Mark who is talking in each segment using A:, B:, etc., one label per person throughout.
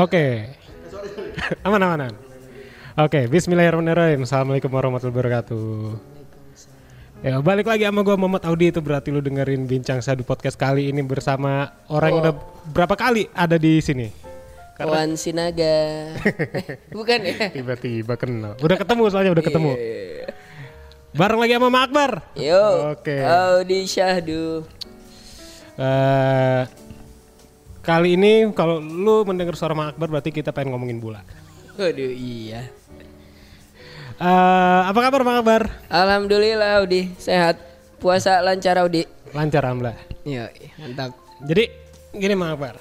A: Oke. aman aman. aman. Oke, bismillahirrahmanirrahim. Assalamualaikum warahmatullahi wabarakatuh. Ya, balik lagi sama gua Muhammad Audi itu berarti lu dengerin bincang sadu podcast kali ini bersama orang yang udah berapa kali ada di sini.
B: Kawan Sinaga. Eh, Bukan ya?
A: Tiba-tiba kenal. Iya, Udah ketemu soalnya udah ketemu. Bareng lagi sama Mak Akbar.
B: Yo.
A: Oke.
B: Audi Syahdu.
A: Eh, kali ini kalau lu mendengar suara Mak Akbar berarti kita pengen ngomongin bola.
B: Waduh, iya.
A: Eh, apa kabar Mak Akbar?
B: Alhamdulillah Audi sehat. Puasa lancar Audi.
A: Lancar alhamdulillah.
B: Yo, mantap.
A: Jadi gini Mang Akbar.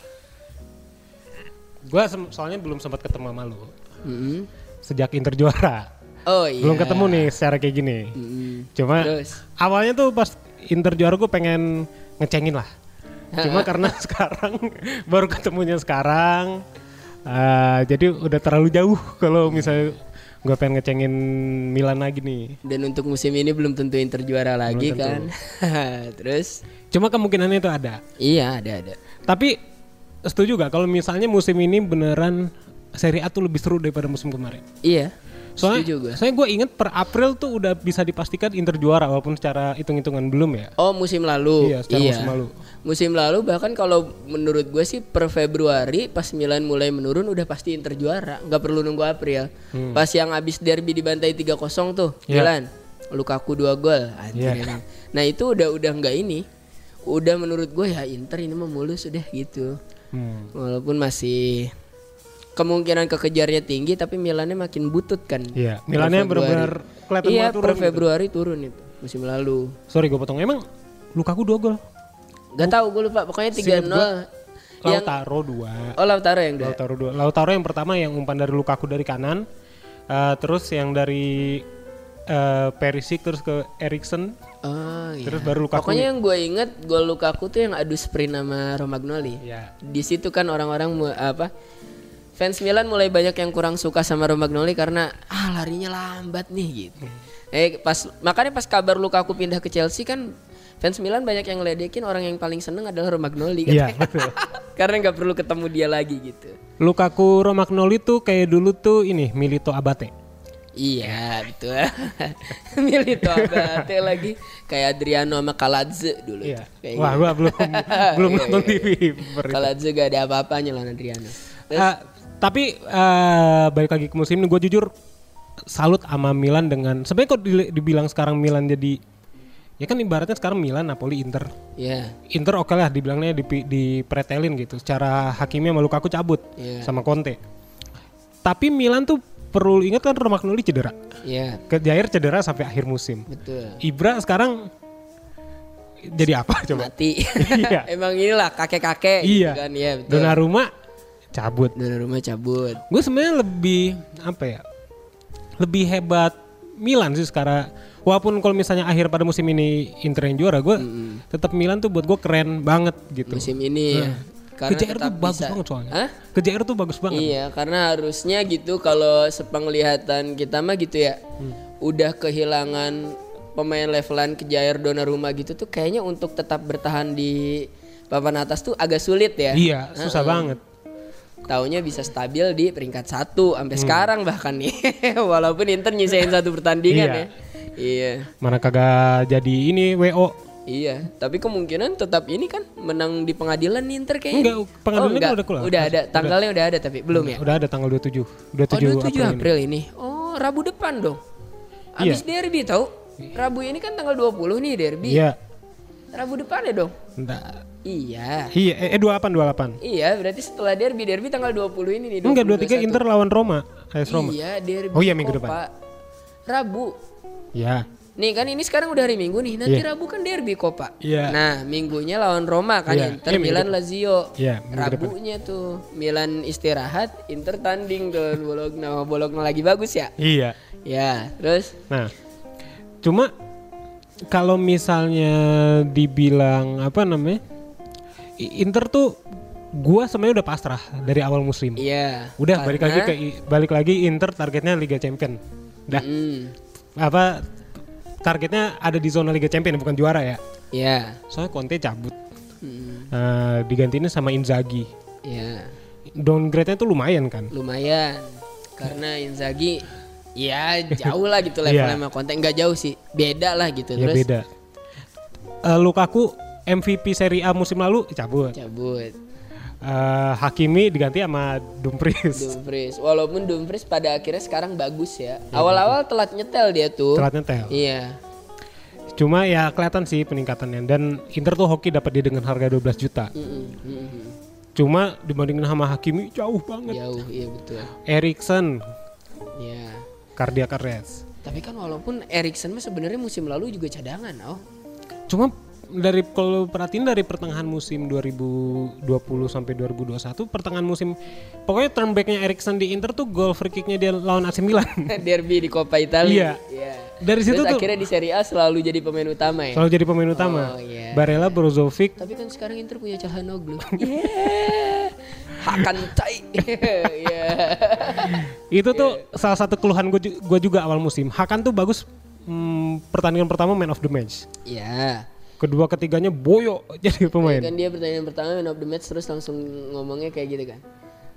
A: Gua sem- soalnya belum sempat ketemu sama lu
B: Mm-mm.
A: sejak Inter juara.
B: Oh iya.
A: Belum ketemu nih secara kayak gini.
B: Mm-mm.
A: Cuma
B: Terus.
A: awalnya tuh pas Inter juara gue pengen ngecengin lah. Cuma karena sekarang baru ketemunya sekarang. eh, jadi udah terlalu jauh kalau misalnya gue pengen ngecengin Milan lagi nih.
B: Dan untuk musim ini belum tentu Inter juara lagi kan. Terus
A: Cuma kemungkinannya itu ada.
B: iya ada ada.
A: Tapi setuju gak kalau misalnya musim ini beneran Serie A tuh lebih seru daripada musim kemarin?
B: Iya.
A: Soalnya,
B: Setuju gue.
A: soalnya gue inget per April tuh udah bisa dipastikan Inter juara walaupun secara hitung-hitungan belum ya.
B: Oh musim lalu.
A: Iya, secara musim lalu.
B: Musim lalu bahkan kalau menurut gue sih per Februari pas Milan mulai menurun udah pasti Inter juara, nggak perlu nunggu April. Pas yang abis derby dibantai 3-0 tuh
A: Hmm. Iya.
B: Milan, Lukaku 2 gol.
A: Iya.
B: Anjir emang. Nah, itu udah udah nggak ini. Udah menurut gue ya Inter ini mah mulus udah gitu.
A: Hmm.
B: Walaupun masih kemungkinan kekejarnya tinggi tapi Milannya makin butut kan.
A: Iya,
B: Per
A: Milannya
B: Februari.
A: benar-benar kelihatan
B: Iya,
A: banget
B: per
A: turun gitu.
B: Februari turun itu musim lalu.
A: Sorry gue potong. Emang Lukaku dua gol.
B: Gak tau gue lupa pokoknya 3-0 yang
A: Lautaro dua.
B: Oh Lautaro yang dua
A: Lautaro dua. Lautaro yang pertama yang umpan dari Lukaku dari kanan. Eh, terus yang dari eh, Perisic terus ke Erikson.
B: Oh iya
A: Terus baru Lukaku.
B: Pokoknya yang gue inget gol Lukaku tuh yang adu sprint sama Romagnoli
A: Iya.
B: Di situ kan orang-orang mu- apa Fans Milan mulai banyak yang kurang suka sama Romagnoli karena ah larinya lambat nih gitu. Eh pas makanya pas kabar Lukaku pindah ke Chelsea kan fans Milan banyak yang ngeledekin orang yang paling seneng adalah Romagnoli
A: Iya,
B: katanya.
A: betul.
B: karena nggak perlu ketemu dia lagi gitu.
A: Lukaku Romagnoli tuh kayak dulu tuh ini Milito Abate.
B: Iya betul Milito Abate lagi Kayak Adriano sama Kaladze dulu
A: Iya.
B: tuh. Kayak
A: Wah,
B: gitu. Iya,
A: gua belum belum nonton TV. per itu.
B: Kaladze gak ada apa-apanya lawan Adriano
A: Eh, tapi eh, balik lagi ke musim ini gue jujur salut sama Milan dengan sebenarnya kok dile- dibilang sekarang Milan jadi ya kan ibaratnya sekarang Milan Napoli Inter
B: Iya
A: Inter oke lah dibilangnya dipi- dipretelin gitu secara hakimnya sama Lukaku cabut
B: Iya.
A: sama Conte tapi Milan tuh perlu ingat kan Romagnoli cedera
B: Iya
A: ke Jair cedera sampai akhir musim
B: betul
A: Ibra sekarang jadi apa coba
B: Mati
A: Iya.
B: Emang inilah kakek-kakek gitu
A: iya
B: kan Iya betul
A: Donnarumma cabut
B: Donnarumma cabut
A: gue sebenarnya lebih apa ya lebih hebat Milan sih sekarang walaupun kalau misalnya akhir pada musim ini Inter yang juara gue tetap Milan tuh buat gue keren banget gitu
B: Musim ini ya Karena
A: KJR tuh
B: tetap
A: bagus
B: bisa-
A: banget soalnya
B: Hah?
A: KJR tuh bagus banget
B: Iya, karena harusnya gitu kalau sepenglihatan kita mah gitu ya.
A: Hmm.
B: Udah kehilangan pemain levelan ke Jair Donnarumma gitu tuh kayaknya untuk tetap bertahan di papan atas tuh agak sulit ya.
A: iya susah banget
B: Taunya bisa stabil di peringkat satu sampai
A: Hmm.
B: sekarang bahkan nih. Walaupun Inter nyisain satu pertandingan
A: Iya.
B: ya. Iya.
A: mana kagak jadi ini WO
B: Iya, tapi kemungkinan tetap ini kan menang di pengadilan nih Inter kayaknya.
A: Enggak,
B: Oh,
A: pengadilannya
B: enggak.
A: udah keluar.
B: Udah ada, tanggalnya udah ada tapi belum ya.
A: udah ada tanggal 27
B: Oh
A: 27
B: 27
A: April
B: April,
A: ini. Iya.
B: ini. Oh Rabu depan dong. Abis derby tau. Rabu ini kan tanggal 20 nih derby.
A: iya
B: Rabu depan ya dong.
A: Nggak-
B: Iya.
A: iya eh, eh 28
B: Iya berarti setelah derby derby tanggal 20 ini nih.
A: 28 enggak 23
B: 20,
A: Inter lawan Roma AS Roma
B: 21. Iya derby.
A: Oh iya, minggu depan.
B: Copa. Rabu.
A: ya
B: Nih kan ini sekarang udah hari Minggu nih. Nanti Rabu kan derby Copa.
A: Iya.
B: Nah, minggunya lawan Roma kan
A: Iya,
B: Inter
A: iya, minggu
B: Milan Lazio.
A: Iya, minggu
B: Rabunya tuh Milan istirahat, Inter tanding tuh Bologna. Oh, Bologna lagi bagus ya.
A: iya
B: Ya, terus
A: Nah, cuma kalau misalnya dibilang apa namanya? I- Inter tuh gua sebenarnya udah pasrah dari awal musim.
B: iya.
A: Udah balik lagi
B: karena-
A: ke i- balik lagi Inter targetnya Liga Champion. Dah
B: Hmm,
A: apa targetnya ada di zona Liga Champion bukan juara ya.
B: ya,
A: Soalnya Conte cabut.
B: Hmm,
A: Eh, digantiin sama Inzaghi.
B: ya.
A: downgrade-nya tuh lumayan kan.
B: lumayan karena Inzaghi ya jauh lah gitu
A: Iya.
B: levelnya sama konten nggak jauh sih beda lah gitu
A: Ya
B: terus
A: beda. Eh, Lukaku MVP Serie A musim lalu cabut.
B: cabut
A: Eh, Hakimi diganti sama Dumfries.
B: Dumfries walaupun Dumfries pada akhirnya sekarang bagus ya awal-awal telat nyetel dia tuh
A: Telat nyetel.
B: iya
A: Cuma ya kelihatan sih peningkatannya dan Inter tuh hoki dapat dia dengan harga 12 juta.
B: Mm-mm, mm-mm.
A: Cuma dibandingin sama Hakimi jauh banget.
B: hmm. jauh iya betul
A: Erikson
B: ya
A: cardiac arrest.
B: tapi kan walaupun Erikson mah sebenarnya musim lalu juga cadangan oh
A: Cuma dari kalau perhatiin dari pertengahan musim 2020 sampai 2021 pertengahan musim pokoknya turn back-nya Erikson di Inter tuh gol free kick-nya dia lawan AC Milan.
B: derby di Coppa
A: Iya.
B: Italia Iya.
A: Dari situ tuh-
B: Terus akhirnya di Serie A selalu jadi pemain utama ya
A: Selalu jadi pemain utama.
B: Oh, iya.
A: Barella, Brozovic,
B: Tapi kan sekarang Inter punya Calhanoglu. Yeah. Iya. Hakan tai. Iya. Yeah.
A: itu tuh
B: Iya.
A: salah satu keluhan gue juga awal musim. Hakan tuh bagus hmm, pertandingan pertama man of the match. Iya
B: Ya.
A: Kedua ketiganya boyo jadi pemain.
B: Kan dia pertandingan pertama man of the match terus langsung ngomongnya kayak gitu kan.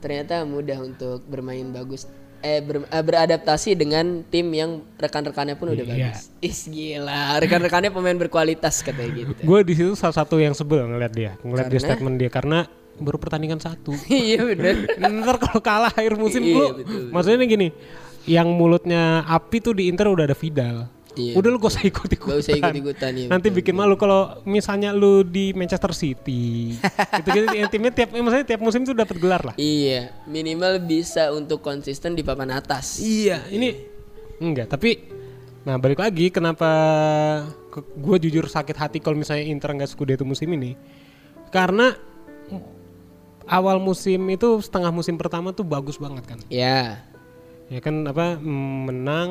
B: Ternyata mudah untuk bermain bagus eh ber- eh, beradaptasi dengan tim yang rekan-rekannya pun udah
A: Iya.
B: bagus. Is gila, rekan-rekannya pemain berkualitas katanya gitu.
A: Gue di situ salah satu yang sebel ngeliat dia, ngeliat dia statement dia karena baru pertandingan satu.
B: Iya bener
A: Ntar kalau kalah akhir musim
B: Iya,
A: lu,
B: betul,
A: maksudnya gini, yang mulutnya api tuh di Inter udah ada Vidal.
B: Iya,
A: udah lu gak usah ikut ikutan.
B: Gak usah ikut-ikutan, iya,
A: Kan. Nanti bikin malu kalau misalnya lu di Manchester City. itu gitu timnya tiap, eh, maksudnya tiap musim tuh dapat gelar lah.
B: Iya, minimal bisa untuk konsisten di papan atas.
A: Iya, ini enggak, tapi nah balik lagi kenapa gue jujur sakit hati kalau misalnya Inter enggak Scudetto musim ini. Karena awal musim itu setengah musim pertama tuh bagus banget kan.
B: Ya.
A: Ya kan apa mm, menang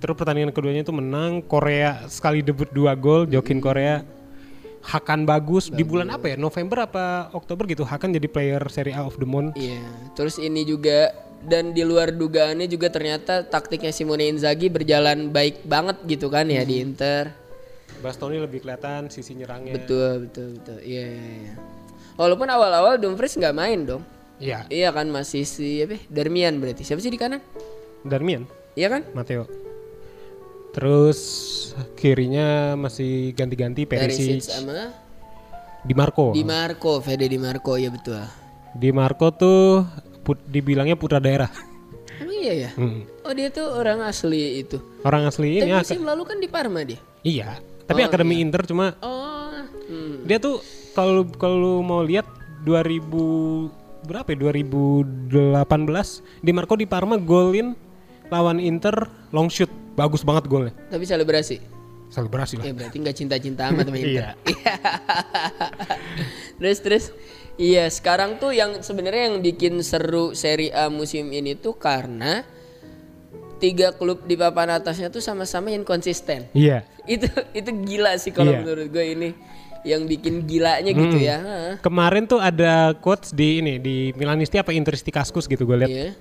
A: terus pertandingan keduanya tuh menang Korea sekali debut dua gol Jokin Korea Hakan bagus di bulan apa ya November apa Oktober gitu Hakan jadi player Serie A of the month
B: Iya, terus ini juga dan di luar dugaannya juga ternyata taktiknya Simone Inzaghi berjalan baik banget gitu kan ya
A: Hmm.
B: di Inter.
A: Bastoni lebih kelihatan sisi nyerangnya
B: Betul, betul, betul. Iya, iya, iya. Walaupun awal-awal Dumfries nggak main dong.
A: Iya
B: Iya kan masih si apa? ya, Darmian berarti. Siapa sih di kanan?
A: Darmian
B: Iya kan?
A: Mateo. Terus kirinya masih ganti-ganti Perisic,
B: Perisic sama
A: Di Marco.
B: Di Marco, Fede Di Marco ya betul.
A: Di Marco tuh put, dibilangnya putra daerah.
B: Emang iya ya?
A: Hmm.
B: Oh dia tuh orang asli itu.
A: Orang asli
B: Tapi
A: ini ak-
B: musim lalu kan di Parma dia.
A: iya, tapi akademi Inter cuma
B: Oh. Hmm.
A: dia tuh kalau kalau mau lihat 2000 berapa ya 2018 Di Marco di Parma golin lawan Inter long shoot. Bagus banget golnya.
B: Tapi selebrasi.
A: Selebrasi lah.
B: Ya berarti nggak cinta-cinta amat
A: Iya.
B: sama Inter. terus terus iya sekarang tuh yang sebenarnya yang bikin seru Serie A musim ini tuh karena tiga klub di papan atasnya tuh sama-sama inkonsisten.
A: Iya.
B: Itu itu gila sih kalau
A: Iya. Hmm.
B: menurut gue ini yang bikin gilanya gitu ya. Heeh.
A: Kemarin tuh ada quotes di ini di Milanisti apa Interisti Kaskus gitu gue lihat.
B: Iya.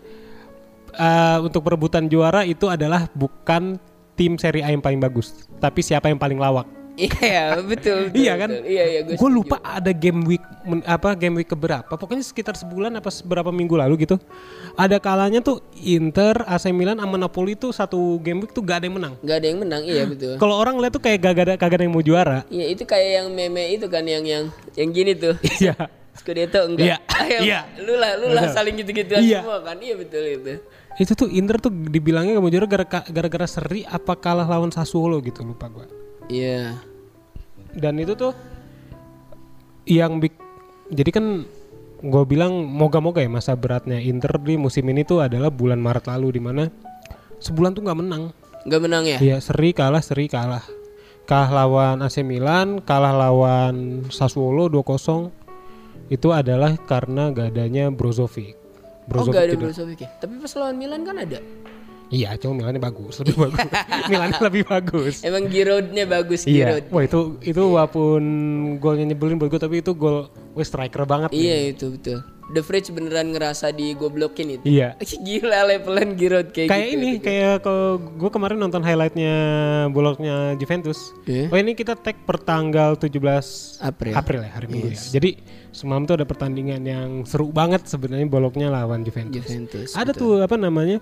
A: Eh, untuk perebutan juara itu adalah bukan tim seri A yang paling bagus, tapi siapa yang paling lawak.
B: Iya, betul, betul,
A: Iya kan?
B: betul. Iya, iya gue
A: Gue lupa ada game week men- apa game week keberapa, pokoknya sekitar sebulan apa seberapa minggu lalu gitu. Ada kalanya tuh Inter, AC Milan, sama Napoli tuh satu game week tuh gak ada yang menang.
B: nggak ada yang menang, iya betul.
A: Kalau orang lihat tuh kayak gak ada kagak ada yang mau juara.
B: Iya, itu kayak yang meme itu kan yang yang yang gini tuh.
A: Iya.
B: Scudetto enggak.
A: Iya.
B: Ayo,
A: Iya.
B: Lu lah, lu lah saling gitu-gituan
A: Iya.
B: semua kan. Iya betul itu.
A: itu tuh Inter tuh dibilangnya gak mau juara gara- gara-gara seri apa kalah lawan Sassuolo gitu lupa gue.
B: Iya.
A: dan itu tuh yang big jadi kan gue bilang moga-moga ya masa beratnya Inter di musim ini tuh adalah bulan Maret lalu di mana sebulan tuh nggak menang
B: Enggak menang ya?
A: ya seri kalah seri kalah kalah lawan AC Milan kalah lawan Sassuolo 2-0 itu adalah karena gak adanya Brozovic
B: oh, enggak ada
A: Brozovic tidak
B: Brozovic ya. Tapi pas lawan Milan kan ada.
A: Iya, cuma Milannya bagus, lebih bagus. Milannya lebih bagus.
B: Emang Giroudnya bagus
A: Iya.
B: Giroud.
A: Wah itu itu walaupun golnya nyebelin buat gue tapi itu gol wih striker banget.
B: Iya itu betul. The Fridge beneran ngerasa di goblokin itu.
A: Iya.
B: Gila levelan Giroud kayak,
A: Kayak
B: gitu.
A: ini, kayak kalau gue kemarin nonton highlightnya boloknya Juventus.
B: Iya.
A: Oh ini kita tag per tanggal 17
B: April.
A: April ya hari Minggu ya. Jadi semalam tuh ada pertandingan yang seru banget sebenarnya boloknya lawan Juventus.
B: Juventus.
A: Ada tuh apa namanya?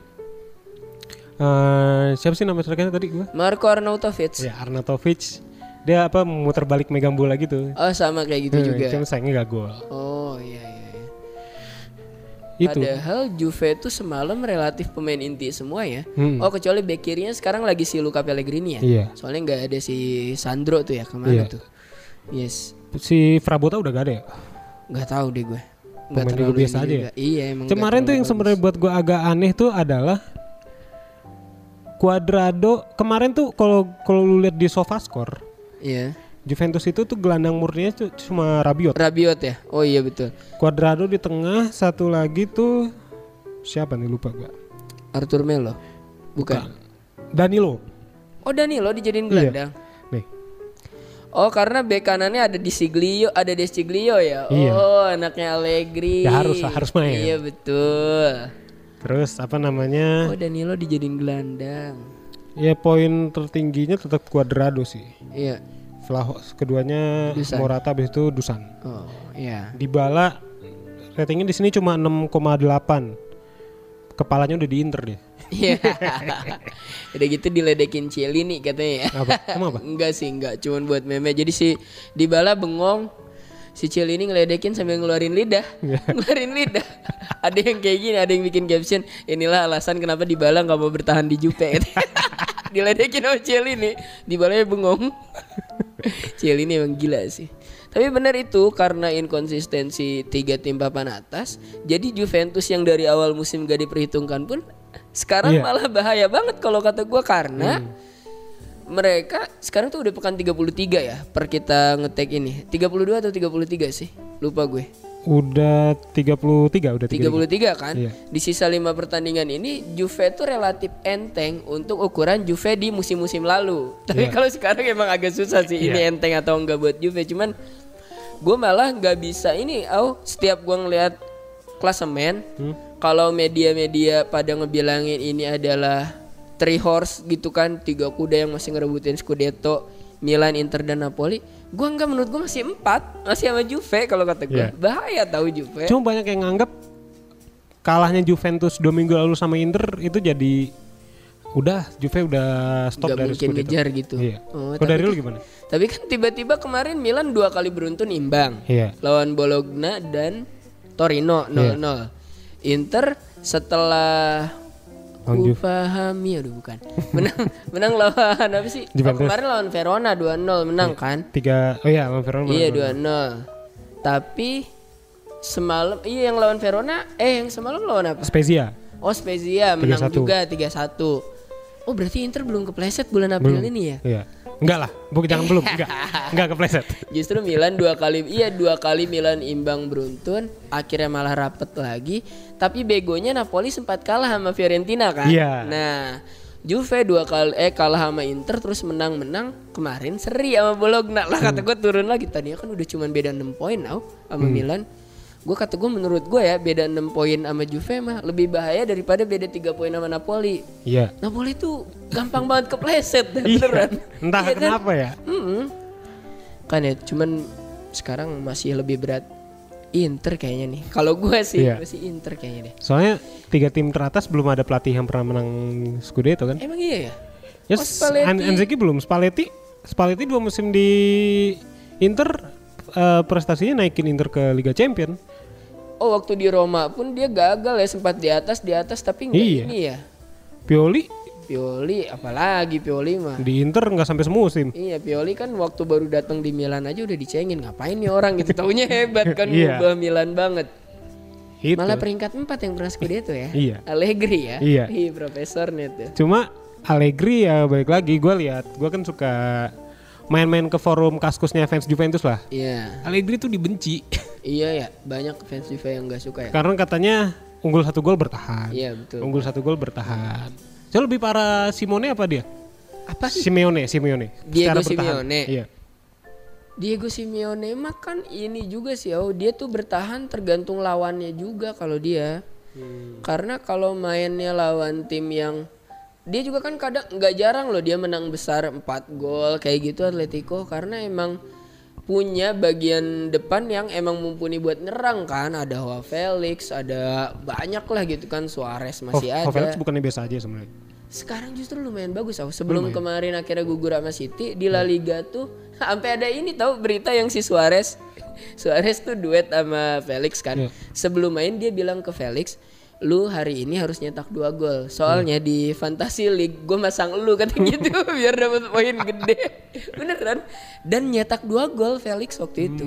A: Eh siapa sih nama strikernya tadi gue?
B: Marco Arnautovic.
A: Ya Arnautovic. Dia apa muter balik megang bola gitu.
B: Oh sama kayak gitu
A: Eh,
B: juga.
A: Cuma sayangnya gak gol.
B: Oh iya iya. iya.
A: Itu.
B: Padahal Juve itu semalam relatif pemain inti semua ya.
A: Hmm.
B: Oh kecuali bek kirinya sekarang lagi si Luca Pellegrini ya.
A: Iya.
B: Soalnya nggak ada si Sandro tuh ya kemana
A: Iya.
B: tuh. Yes.
A: Si Prabota udah gak ada ya?
B: Nggak tahu deh gue. Nggak
A: Pemain
B: terlalu
A: juga biasa
B: ini
A: aja ya?
B: juga. Iya emang.
A: Kemarin
B: nggak
A: tuh
B: terlalu
A: yang
B: bagus.
A: sebenarnya buat gua agak aneh tuh adalah Cuadrado kemarin tuh kalau kalau lu lihat di Sofascore
B: Iya.
A: Juventus itu tuh gelandang murninya tuh cuma Rabiot.
B: Rabiot ya. Oh iya betul.
A: Cuadrado di tengah, satu lagi tuh siapa nih lupa gua.
B: Arthur Melo. Bukan.
A: Danilo.
B: Oh Danilo dijadiin
A: Iya.
B: gelandang.
A: Nih.
B: Oh karena bek kanannya ada di Siglio, ada di Siglio ya.
A: Iya.
B: Oh anaknya Allegri.
A: Ya, harus- harus main.
B: Iya betul.
A: Terus apa namanya?
B: Oh Danilo dijadiin gelandang.
A: Ya poin tertingginya tetap Cuadrado sih.
B: Iya.
A: Vlahos keduanya Morata habis itu Dusan.
B: Oh iya.
A: Dybala ratingnya di sini cuma 6,8. Kepalanya udah di Inter dia.
B: Iya. Udah gitu diledekin Cielini katanya ya.
A: Apa? Emang apa?
B: Enggak sih, enggak. Cuman buat meme. Jadi si Dybala bengong. Si Cielini ngeledekin sambil ngeluarin lidah.
A: Iya.
B: ngeluarin lidah. ada yang kayak gini, ada yang bikin caption. Inilah alasan kenapa Dybala nggak mau bertahan di Jupe. diledekin sama Cielini. Dybala bengong. Cielini emang gila sih. Tapi benar itu karena inkonsistensi tiga tim papan atas, jadi Juventus yang dari awal musim gak diperhitungkan pun
A: Iya.
B: sekarang
A: Hmm.
B: malah bahaya banget kalau kata gua karena mereka sekarang tuh udah pekan 33 ya per kita ngetek ini. 32 atau 33 sih? Lupa gue.
A: Udah 33, udah 33.
B: 33 kan?
A: Iya.
B: Di sisa 5 pertandingan ini Juve tuh relatif enteng untuk ukuran Juve di musim-musim lalu. Tapi
A: Iya.
B: kalau sekarang emang agak susah sih ini enteng atau enggak buat Juve. Cuman gue malah nggak bisa ini au setiap gue ngeliat klasemen
A: Hmm.
B: kalau media-media pada ngebilangin ini adalah three horse gitu kan tiga kuda yang masih ngerebutin Scudetto Milan, Inter dan Napoli. Gue enggak menurut gue masih empat masih sama Juve kalau kata
A: Iya.
B: gue bahaya tahu Juve.
A: Cuma banyak yang nganggap kalahnya Juventus dua minggu lalu sama Inter itu jadi udah Juve udah stop
B: nggak
A: dari
B: mungkin
A: Scudetto.
B: ngejar gitu.
A: Iya. Kalau
B: Oh, tapi,
A: dari lu gimana?
B: tapi kan tiba-tiba kemarin Milan dua kali beruntun imbang
A: Iya.
B: lawan Bologna dan Torino 0-0. Inter setelah
A: Lawan
B: ku pahami aduh bukan. Menang menang lawan apa sih? Oh,
A: Juventus.
B: kemarin lawan Verona 2-0 menang kan?
A: Tiga, oh iya, lawan Verona.
B: Iya
A: menang.
B: 2-0. Tapi semalam iya yang lawan Verona eh yang semalam lawan apa?
A: Spezia.
B: Oh Spezia
A: 3-1.
B: menang juga 3-1. Oh berarti Inter belum kepleset bulan April ini ya?
A: Iya. Enggak lah, bu, jangan belum, enggak. Enggak kepleset.
B: Justru Milan dua kali iya dua kali Milan imbang beruntun, akhirnya malah rapet lagi. Tapi begonya Napoli sempat kalah sama Fiorentina kan?
A: Iya.
B: Nah, Juve dua kali eh kalah sama Inter terus menang-menang kemarin seri sama Bologna lah
A: Hmm.
B: kata gue turun lagi tadinya kan udah cuman beda 6 poin now sama Milan. Gue kata gue menurut gue ya beda 6 poin sama Juve mah lebih bahaya daripada beda 3 poin sama Napoli.
A: Iya.
B: Napoli tuh gampang banget kepleset dah,
A: Iya.
B: beneran.
A: Entah
B: Iya kan?
A: kenapa ya.
B: Mm-mm. Kan ya, cuman sekarang masih lebih berat Inter kayaknya nih. Kalau gue sih
A: Iya.
B: masih Inter kayaknya deh.
A: Soalnya tiga tim teratas belum ada pelatih yang pernah menang Scudetto kan?
B: Emang iya ya? Oh,
A: Yes,
B: Spalletti.
A: An- Anzeki belum. Spalletti, Spalletti dua musim di Inter eh, prestasinya naikin Inter ke Liga Champion.
B: Oh waktu di Roma pun dia gagal ya sempat di atas di atas tapi nggak
A: Iya.
B: ini ya.
A: Pioli
B: Pioli apalagi Pioli mah.
A: di Inter nggak sampai semusim.
B: Iya Pioli kan waktu baru datang di Milan aja udah dicengin ngapain nih orang gitu. Taunya hebat kan
A: Iya.
B: ngubah Milan banget.
A: Itu.
B: Malah peringkat 4 yang pernah Scudetto ya.
A: Iya.
B: Allegri ya.
A: Iya.
B: Ih, profesornya tuh.
A: Cuma Allegri ya balik lagi gue lihat gue kan suka main-main ke forum kaskusnya fans Juventus lah.
B: Iya.
A: Allegri tuh dibenci
B: Iya ya, banyak fans Juve yang nggak suka ya.
A: karena katanya unggul satu gol bertahan.
B: Iya betul.
A: Unggul satu gol bertahan. So lebih parah Simone apa dia?
B: Apa sih?
A: Simeone, Simeone. Secara
B: Diego
A: bertahan.
B: Simeone.
A: Iya.
B: Diego Simeone mah kan ini juga sih oh dia tuh bertahan tergantung lawannya juga kalau dia karena kalau mainnya lawan tim yang dia juga kan kadang nggak jarang loh dia menang besar 4 gol kayak gitu Atletico karena emang punya bagian depan yang emang mumpuni buat nyerang kan ada Hoa Felix ada banyak lah gitu kan Suarez
A: Ho-
B: masih
A: Ho
B: ada
A: Felix bukannya biasa aja sebenarnya.
B: sekarang justru lumayan bagus tau sebelum kemarin akhirnya gugur sama City di La Liga tuh sampai ada ini tau berita yang si Suarez Suarez tuh duet sama Felix kan sebelum main dia bilang ke Felix lu hari ini harus nyetak dua gol soalnya di Fantasy League gue masang lu kata gitu biar dapat poin gede beneran dan nyetak dua gol Felix waktu itu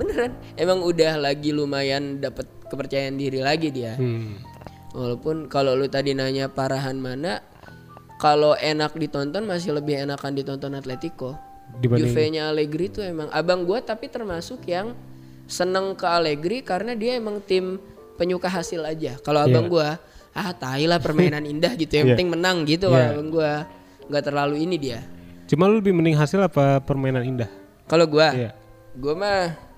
B: beneran emang udah lagi lumayan dapat kepercayaan diri lagi dia
A: Hmm.
B: Walaupun kalau lu tadi nanya parahan mana, kalau enak ditonton masih lebih enakan ditonton Atletico.
A: Dibanding
B: Juve-nya Allegri tuh emang abang gua tapi termasuk yang seneng ke Allegri karena dia emang tim penyuka hasil aja. Kalau abang gua, ah tai lah permainan indah gitu yang
A: Iya.
B: penting menang
A: Iya.
B: gitu kalau abang gua. nggak terlalu ini dia.
A: Cuma lu lebih mending hasil apa permainan indah?
B: Kalau gua,
A: Iya.
B: gua mah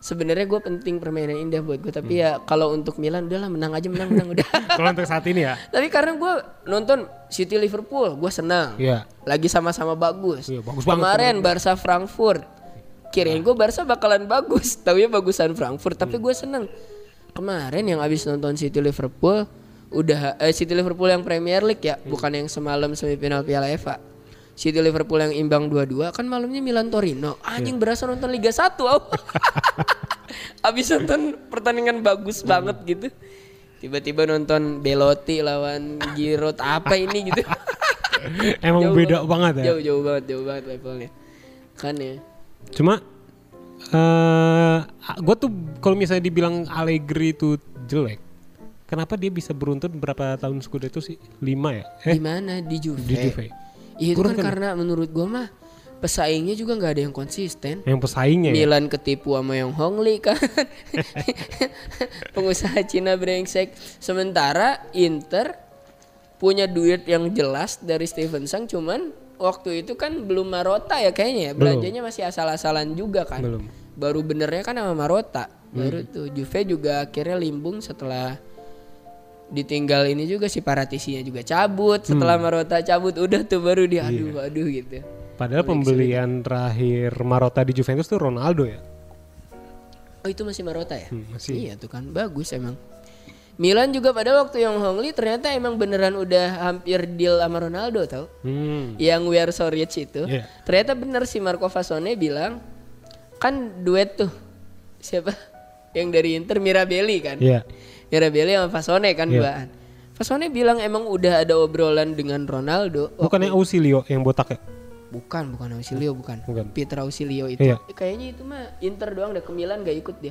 B: sebenarnya gua penting permainan indah buat gua
A: Hmm.
B: tapi ya kalau untuk Milan udahlah menang aja menang menang udah.
A: Kalau untuk saat ini ya.
B: Tapi karena gue nonton City Liverpool, gue senang.
A: Iya.
B: Lagi sama-sama bagus.
A: Iya, bagus banget
B: Kemarin Barca Frankfurt. Kirain gue Barca bakalan bagus, tapi bagusan Frankfurt. Tapi
A: Hmm.
B: gue senang. Kemarin yang abis nonton City Liverpool, udah eh, City Liverpool yang Premier League
A: Hmm.
B: ya, bukan yang semalam semifinal Piala FA. City Liverpool yang imbang 2-2 kan malamnya Milan Torino.
A: Iya.
B: Anjing berasa nonton Liga 1. au. abis nonton pertandingan
A: Hmm.
B: bagus banget gitu. Tiba-tiba nonton Belotti lawan Giroud apa ini gitu.
A: Emang
B: Jauh
A: beda banget ya.
B: jauh jauh banget jauh banget levelnya kan ya
A: Cuma eh gue tuh kalau misalnya dibilang Allegri itu jelek, kenapa dia bisa beruntun berapa tahun Scudetto sih? Lima ya? Eh,
B: di mana di Juve
A: di Juve.
B: Iya, itu
A: Kurang
B: kan
A: kan?
B: karena menurut gua mah pesaingnya juga nggak ada yang konsisten
A: Yang pesaingnya ya.
B: Milan ketipu sama yang Hongli kan pengusaha Cina brengsek sementara Inter punya duit yang jelas dari Steven Sang cuman waktu itu kan belum Marota ya kayaknya ya belanjanya masih asal-asalan juga kan
A: Belum.
B: baru benernya kan sama Marota baru tuh Juve juga akhirnya limbung setelah ditinggal ini juga si Paratisinya juga cabut setelah Marota cabut udah tuh baru dia aduh aduh gitu
A: Padahal pembelian terakhir Marotta di Juventus tuh Ronaldo ya.
B: Oh itu masih Marota ya?
A: Hmm, masih.
B: Iya tuh kan bagus emang. Milan juga pada waktu yang Hongli ternyata emang beneran udah hampir deal sama Ronaldo tau?
A: Hmm.
B: Yang We Are So Rich itu.
A: Iya.
B: Ternyata bener si Marco Fasone bilang kan duet tuh siapa yang dari Inter Mirabelli kan?
A: Iya.
B: Mirabelli sama Fasone kan
A: Iya.
B: duaan. Fasone bilang emang udah ada obrolan dengan Ronaldo. Wah,
A: Bukannya Ausilio yang botak ya?
B: bukan bukan Ausilio bukan.
A: Bukan.
B: Peter Ausilio itu.
A: Iya.
B: Eh, Kayaknya itu mah Inter doang deh ke Milan gak ikut dia.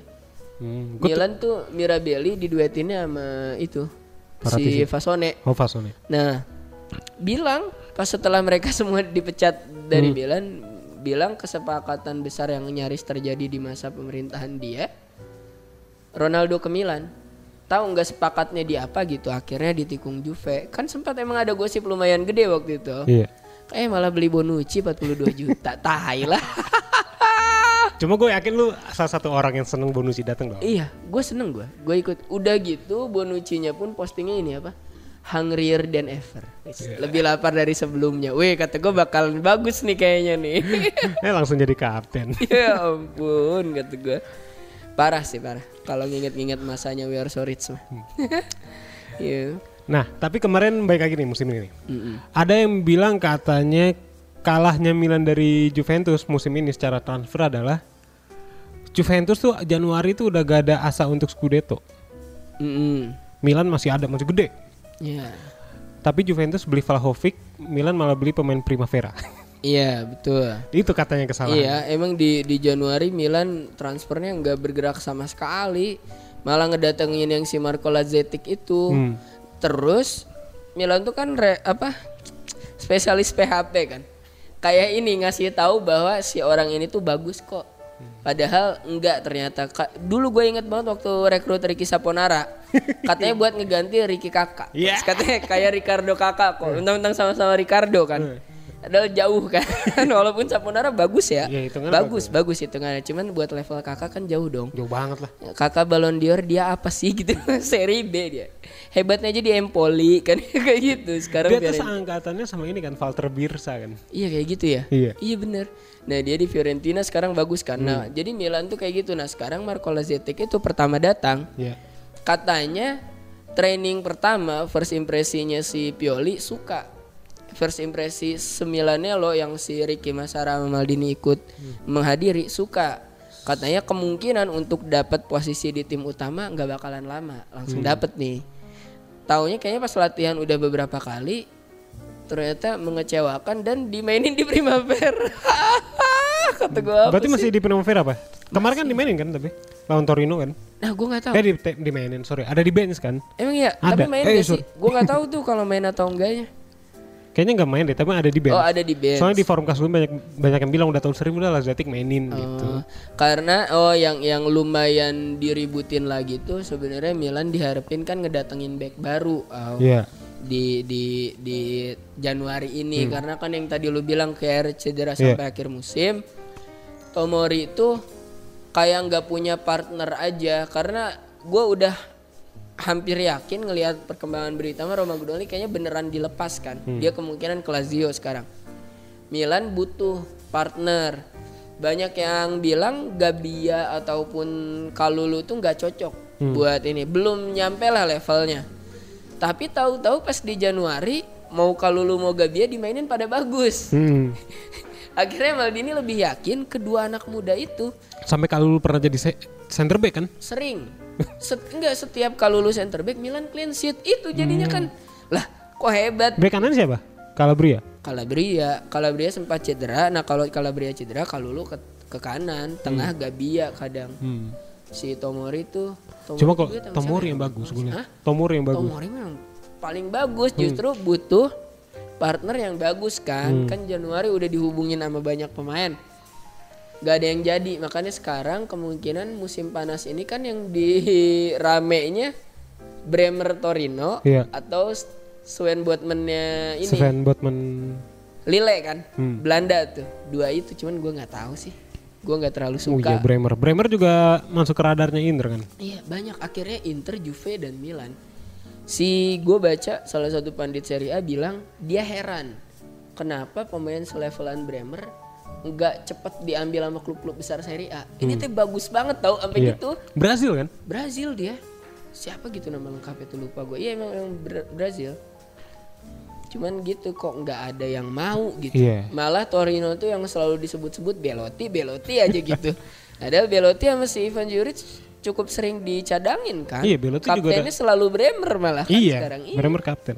A: Hmm. Gua
B: Milan tuh Mirabelli diduetinnya sama itu si Fasone.
A: Oh, Fasone.
B: Nah, bilang pas setelah mereka semua dipecat
A: Hmm.
B: dari Milan, bilang kesepakatan besar yang nyaris terjadi di masa pemerintahan dia Ronaldo ke Milan. Tahu nggak sepakatnya di apa gitu? Akhirnya ditikung Juve. Kan sempat emang ada gosip lumayan gede waktu itu.
A: Iya.
B: Eh malah beli Bonucci 42 juta. tai lah.
A: Ah. Cuma gue yakin lu salah satu orang yang seneng Bonucci datang dong.
B: Iya, gue seneng gue. Gue ikut. Udah gitu, Bonucci-nya pun postingnya ini apa? Hungrier than ever. Wis, Lebih lapar dari sebelumnya. Weh, kata gue bakalan bagus nih kayaknya nih.
A: eh langsung jadi kapten.
B: ya ampun, kata gue. Parah sih parah. Kalau nginget-nginget masanya We Are So Rich mah. Iya.
A: Nah, tapi kemarin baik lagi nih musim ini. Ada yang bilang katanya kalahnya Milan dari Juventus musim ini secara transfer adalah Juventus tuh Januari tuh udah gak ada asa untuk Scudetto.
B: Mm-mm.
A: Milan masih ada, masih gede.
B: Iya.
A: Tapi Juventus beli Vlahovic, Milan malah beli pemain Primavera.
B: Iya, betul.
A: Itu katanya kesalahan.
B: Iya, emang di di Januari Milan transfernya nggak bergerak sama sekali. Malah ngedatengin yang si Marco Lazetic itu. Terus Milan tuh kan re- apa? spesialis PHP kan. Kayak ini ngasih tahu bahwa si orang ini tuh bagus kok. Padahal Padahal enggak ternyata. Ka- Dulu gue inget banget waktu rekrut Ricky Saponara. Katanya buat ngeganti Ricky Kakak.
A: Iya.
B: Katanya kayak Ricardo Kakak kok. Undang-undang sama-sama
A: Hmm.
B: Ricardo kan. Padahal jauh kan. Walaupun Saponara bagus ya.
A: Iya, hitungannya
B: bagus, bagus hitungannya. Cuman buat level Kakak kan jauh dong.
A: Jauh banget lah.
B: Kakak Ballon d'Or dia apa sih gitu seri B dia. Hebatnya aja di Empoli kan kayak gitu. Sekarang
A: Dia tuh
B: biarin-
A: seangkatannya sama ini kan Walter Birsa kan.
B: Iya kayak gitu ya.
A: Iya. Hmm.
B: bener. Nah dia di Fiorentina sekarang bagus kan. Nah jadi Milan tuh kayak gitu. Nah sekarang Marco Lazetic itu pertama datang.
A: Iya.
B: Katanya training pertama first impresinya si Pioli suka. First impresi semilannya lo yang si Ricky Masara sama Maldini ikut
A: Hmm.
B: menghadiri suka. Katanya kemungkinan untuk dapat posisi di tim utama nggak bakalan lama. Langsung
A: Hmm.
B: dapet nih. Taunya kayaknya pas latihan udah beberapa kali ternyata mengecewakan dan dimainin di Primavera. Kata gue apa
A: Berarti
B: sih?
A: masih di Primavera apa? Kemarin kan dimainin kan tapi lawan Torino kan.
B: Nah gue nggak tahu.
A: Eh di te- dimainin sorry. Ada di bench kan?
B: Emang iya,
A: Ada.
B: tapi main
A: Eh,
B: nggak sih?
A: sorry.
B: Gue nggak tahu tuh kalau main atau enggaknya.
A: Kayaknya nggak main deh tapi ada di bench.
B: Oh ada di bench.
A: Soalnya di forum kasus banyak banyak yang bilang udah tahun seribu udah Lazatik mainin gitu.
B: Oh, karena oh yang yang lumayan diributin lagi tuh sebenarnya Milan diharapin kan ngedatengin back baru. Au.
A: Iya.
B: di di di Januari ini karena kan yang tadi lu bilang kayak cedera
A: Hmm. Iya.
B: sampai akhir musim Tomori itu kayak nggak punya partner aja karena gue udah hampir yakin ngelihat perkembangan berita mah Roma Gugnoli kayaknya beneran dilepaskan dia kemungkinan ke Lazio sekarang Milan butuh partner banyak yang bilang Gabia ataupun Kalulu tuh nggak cocok buat ini belum nyampe lah levelnya tapi tahu-tahu pas di Januari mau Kalulu mau Gabia dimainin pada bagus.
A: Hmm.
B: Akhirnya Maldini lebih yakin kedua anak muda itu
A: Sampai kalau lu pernah jadi se- center back kan?
B: sering set, enggak setiap Kalulu center back Milan clean sheet itu
A: Hmm.
B: jadinya kan lah kok hebat
A: Back kanan siapa? Calabria.
B: Calabria, Calabria sempat cedera. Nah, kalau Calabria cedera Kalulu ke, ke kanan, tengah Gabia kadang.
A: Hmm.
B: Si Tomori tuh Tomori
A: Cuma kok
B: juga tangan
A: Tomori
B: sana.
A: yang bagus gue
B: Hah?
A: liat. Tomori yang bagus. Hmm.
B: Tomori memang paling bagus justru butuh partner yang bagus
A: Hmm.
B: kan kan Januari udah dihubungin sama banyak pemain Gak ada yang jadi makanya sekarang kemungkinan musim panas ini kan yang di ramenya Bremer Torino
A: Iya.
B: atau Sven Botman-nya ini
A: Sven Hmm. Botman.
B: Lille kan Belanda tuh dua itu cuman gua nggak tahu sih gua nggak terlalu
A: Oh iya
B: suka
A: Bremer. Bremer juga masuk ke radarnya Inter kan.
B: Iya banyak akhirnya Inter, Juve dan Milan. Si gue baca salah satu pandit Serie A bilang dia heran kenapa pemain selevelan Bremer nggak cepet diambil sama klub-klub besar Serie A. Ini tuh bagus banget tau sampai
A: Iya.
B: gitu.
A: Brazil kan?
B: Brazil dia. Siapa gitu nama lengkapnya tuh lupa gue. Iya emang, emang Bra- Brazil. Cuman gitu kok nggak ada yang mau gitu.
A: Iya.
B: Malah Torino tuh yang selalu disebut-sebut Belotti, Belotti aja gitu. Padahal Belotti sama si Ivan Juric cukup sering dicadangin kan.
A: Iya, Belotti juga
B: Kaptennya selalu Bremer malah kan
A: Iya.
B: sekarang. Iya.
A: Bremer kapten.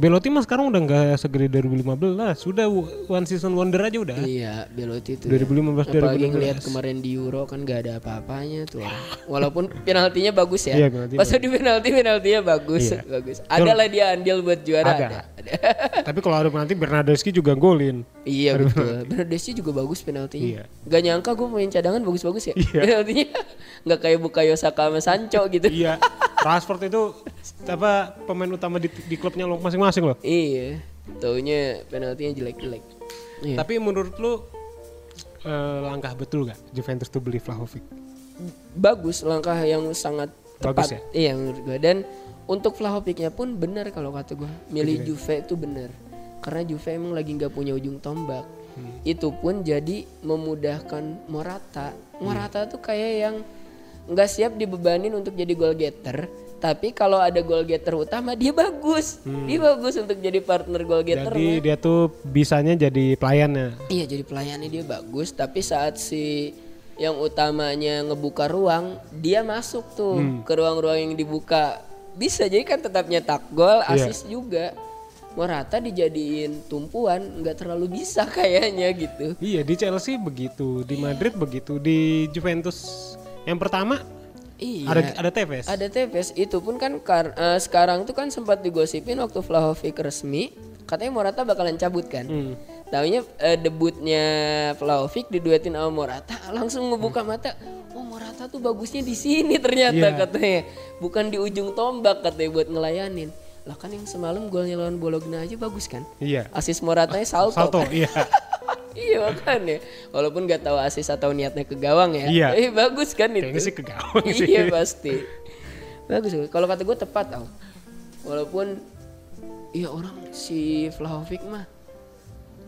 A: Belotti mah sekarang udah nggak segede 2015. Sudah w- one season wonder aja udah.
B: Iya, Belotti itu.
A: 2015,
B: Apalagi
A: 2016.
B: ngelihat kemarin di Euro kan gak ada apa-apanya tuh. orang. Walaupun penaltinya bagus ya.
A: Iya, penaltinya
B: Pas di penalti penaltinya bagus,
A: Iya.
B: bagus. Adalah dia andil buat juara
A: Ada.
B: ada. ada.
A: Tapi kalau ada nanti Bernardeschi juga golin.
B: iya betul. Bernadeschi juga bagus penaltinya.
A: Iya.
B: Gak nyangka gue main cadangan bagus-bagus ya. Penaltinya nggak kayak Bukayo Saka sama Sancho gitu.
A: iya. Rashford itu apa pemain utama di, di klubnya lo masing-masing loh.
B: iya. Taunya penaltinya jelek-jelek. Iya.
A: Tapi menurut lu eh, langkah betul gak Juventus tuh beli Vlahovic?
B: bagus langkah yang sangat
A: Bagus ya?
B: tepat iya menurut gue dan untuk Vlahovicnya pun benar kalau kata gue milih Juve itu benar karena Juve emang lagi nggak punya ujung tombak
A: Hmm.
B: itu pun jadi memudahkan Morata
A: Hmm.
B: Morata tuh kayak yang nggak siap dibebanin untuk jadi goal getter tapi kalau ada goal getter utama dia bagus dia bagus untuk jadi partner goal getter
A: Hmm. Jadi dia tuh bisanya jadi pelayannya.
B: Iya jadi pelayannya dia bagus tapi saat si yang utamanya ngebuka ruang dia masuk tuh ke ruang-ruang yang dibuka bisa jadi kan tetap nyetak gol asis juga Morata dijadiin tumpuan nggak terlalu bisa kayaknya gitu
A: Iya di Chelsea begitu,
B: Iya.
A: di Madrid begitu, di Juventus yang pertama
B: iya
A: ada ada Tevez.
B: Ada Tevez itu pun kan kar- eh,
A: Hmm.
B: sekarang tuh kan sempat digosipin waktu Vlahovic resmi katanya Morata bakalan cabut kan. Taunya eh, debutnya Vlahovic diduetin sama Morata, langsung ngebuka mata. Oh Morata tuh bagusnya di sini
A: Hmm.
B: ternyata
A: Iya.
B: katanya. Bukan di ujung tombak katanya buat ngelayanin. Lah kan yang semalam golnya lawan Bologna aja bagus kan?
A: Iya.
B: Asis Moratanya salto.
A: Salto,
B: kan?
A: iya.
B: iya makanya. Walaupun nggak tahu asis atau niatnya ke gawang ya.
A: Iya.
B: Eh bagus kan itu.
A: Kayaknya sih ke gawang sih.
B: iya pasti. Bagus. Kalau kata gue tepat al. Walaupun iya orang si Vlahovic mah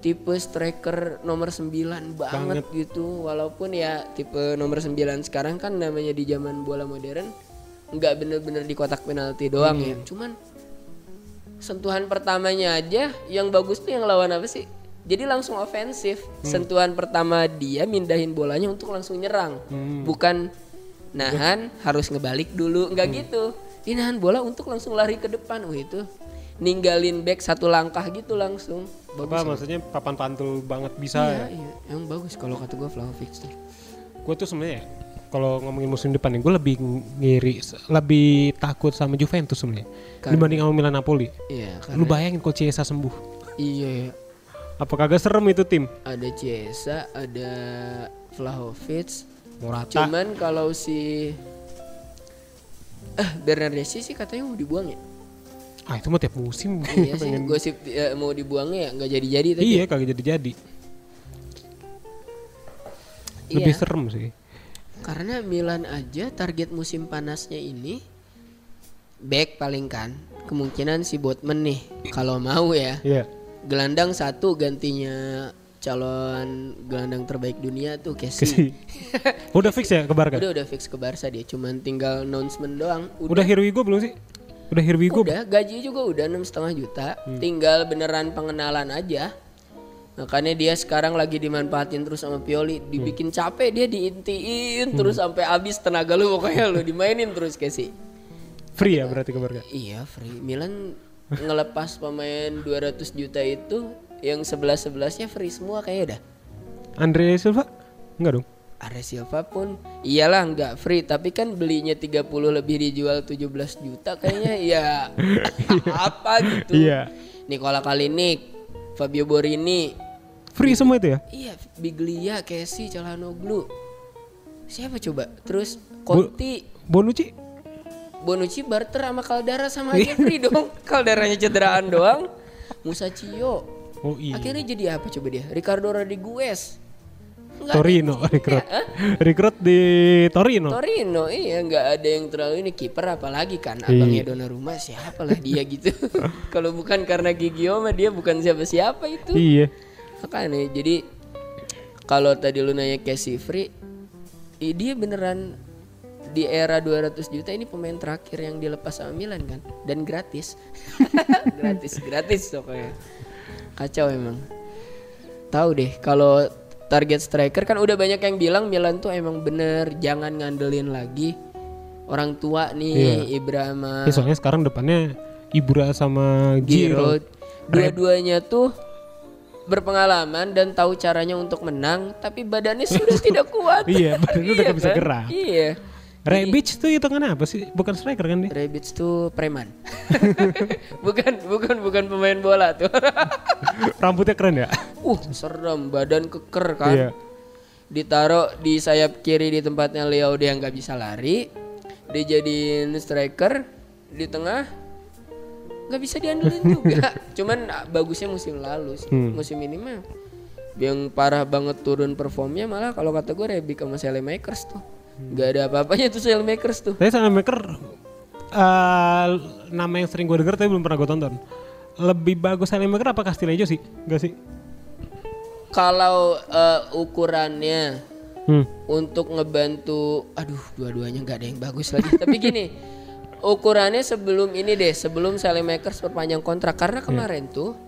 B: tipe striker nomor 9 banget,
A: Banget.
B: gitu walaupun ya tipe nomor 9 sekarang kan namanya di zaman bola modern nggak bener-bener di kotak penalti doang ya cuman sentuhan pertamanya aja yang bagus tuh yang lawan apa sih jadi langsung ofensif sentuhan pertama dia mindahin bolanya untuk langsung nyerang bukan nahan harus ngebalik dulu nggak gitu dia nahan bola untuk langsung lari ke depan Wah itu ninggalin back satu langkah gitu langsung
A: Apa
B: bagus
A: maksudnya papan pantul banget bisa ya?
B: Iya, iya. Emang bagus kalau kata gue Vlahovic tuh.
A: gue tuh sebenarnya ya, kalau ngomongin musim depan nih gue lebih ngiri lebih takut sama Juventus sebenarnya
B: Karena-
A: dibanding sama Milan Napoli
B: Iya,
A: lu
B: karena
A: bayangin kalau Chiesa sembuh
B: iya ya.
A: apa kagak serem itu tim
B: ada Chiesa, ada Vlahovic.
A: Morata
B: Cuman kalau si eh Bernardeschi sih katanya mau dibuang ya.
A: ah itu mah tiap musim
B: Iya sih,
A: pengen
B: gosip eh, mau dibuangnya ya nggak jadi-jadi tadi.
A: iya kagak jadi jadi
B: Iya.
A: lebih serem sih
B: Karena Milan aja target musim panasnya ini back paling kan. Kemungkinan si Botman nih kalau mau ya.
A: iya
B: Gelandang satu gantinya calon gelandang terbaik dunia tuh Casey.
A: Kesi. udah fix ya ke Barca udah,
B: Udah udah fix ke Barca dia, cuman tinggal announcement doang. Udah
A: udah Here We Go belum sih udah Here We Go
B: udah gaji juga udah enam setengah juta, tinggal beneran pengenalan aja. Makanya dia sekarang lagi dimanfaatin terus sama Pioli, dibikin capek dia diintiin terus sampai habis tenaga lu pokoknya lu dimainin terus Casey.
A: free ya berarti ke Barca
B: Iya, free. Milan ngelepas pemain 200 juta itu yang 11-11-nya free semua kayaknya dah.
A: Andre Silva enggak dong
B: Ares Silva pun iyalah nggak free tapi kan belinya 30 lebih dijual 17 juta kayaknya ya apa gitu.
A: Iya.
B: Nicola Kalinic, Fabio Borini,
A: free semua itu ya
B: iya Biglia, Casey, Calhanoglu. Siapa coba? Terus Conti,
A: Bonucci
B: Bonucci barter sama Caldara sama
A: Iya.
B: aja free dong. Caldaranya cederaan doang. Musa Cio.
A: oh iya
B: Akhirnya jadi apa coba dia? Ricardo Rodriguez. Nggak ada
A: Torino
B: yang-
A: rekrut
B: Hah?
A: rekrut di Torino
B: Torino iya nggak ada yang terlalu ini kiper apalagi kan
A: Iya.
B: abangnya Donnarumma siapa lah dia gitu kalau bukan karena Gigio mah dia bukan siapa-siapa itu
A: iya
B: makanya jadi kalau tadi lu nanya Casey Free i- dia beneran di era 200 juta ini pemain terakhir yang dilepas sama Milan kan dan gratis gratis gratis pokoknya kacau emang tahu deh kalau target striker kan udah banyak yang bilang Milan tuh emang bener jangan ngandelin lagi orang tua nih Ibra sama
A: Ya, soalnya sekarang depannya Ibra sama Giro.
B: Giroud. Dua-duanya tuh berpengalaman dan tahu caranya untuk menang, tapi badannya sudah tidak kuat.
A: Iya, badannya udah nggak bisa
B: kan?
A: gerak.
B: Iya.
A: Rebic tuh hitungannya apa sih? Bukan striker kan dia?
B: Rebic tuh preman. bukan bukan bukan pemain bola tuh.
A: Rambutnya keren ya?
B: uh, serem, badan keker kan.
A: Iya.
B: Ditaruh di sayap kiri di tempatnya Leo dia nggak bisa lari. Dijadiin striker di tengah nggak bisa diandelin juga. Cuman ah, bagusnya musim lalu sih. Musim ini mah yang parah banget turun performnya malah kalau kata gue Rebic sama Makers tuh. nggak ada apa-apanya tuh Makers tuh.
A: Tapi Maker eh nama yang sering gue denger tapi belum pernah gue tonton. Lebih bagus Maker apa Castilejo sih? Enggak sih?
B: Kalau eh, ukurannya
A: Hmm.
B: untuk ngebantu aduh dua-duanya nggak ada yang bagus lagi tapi gini ukurannya sebelum ini deh sebelum Makers perpanjang kontrak karena kemarin tuh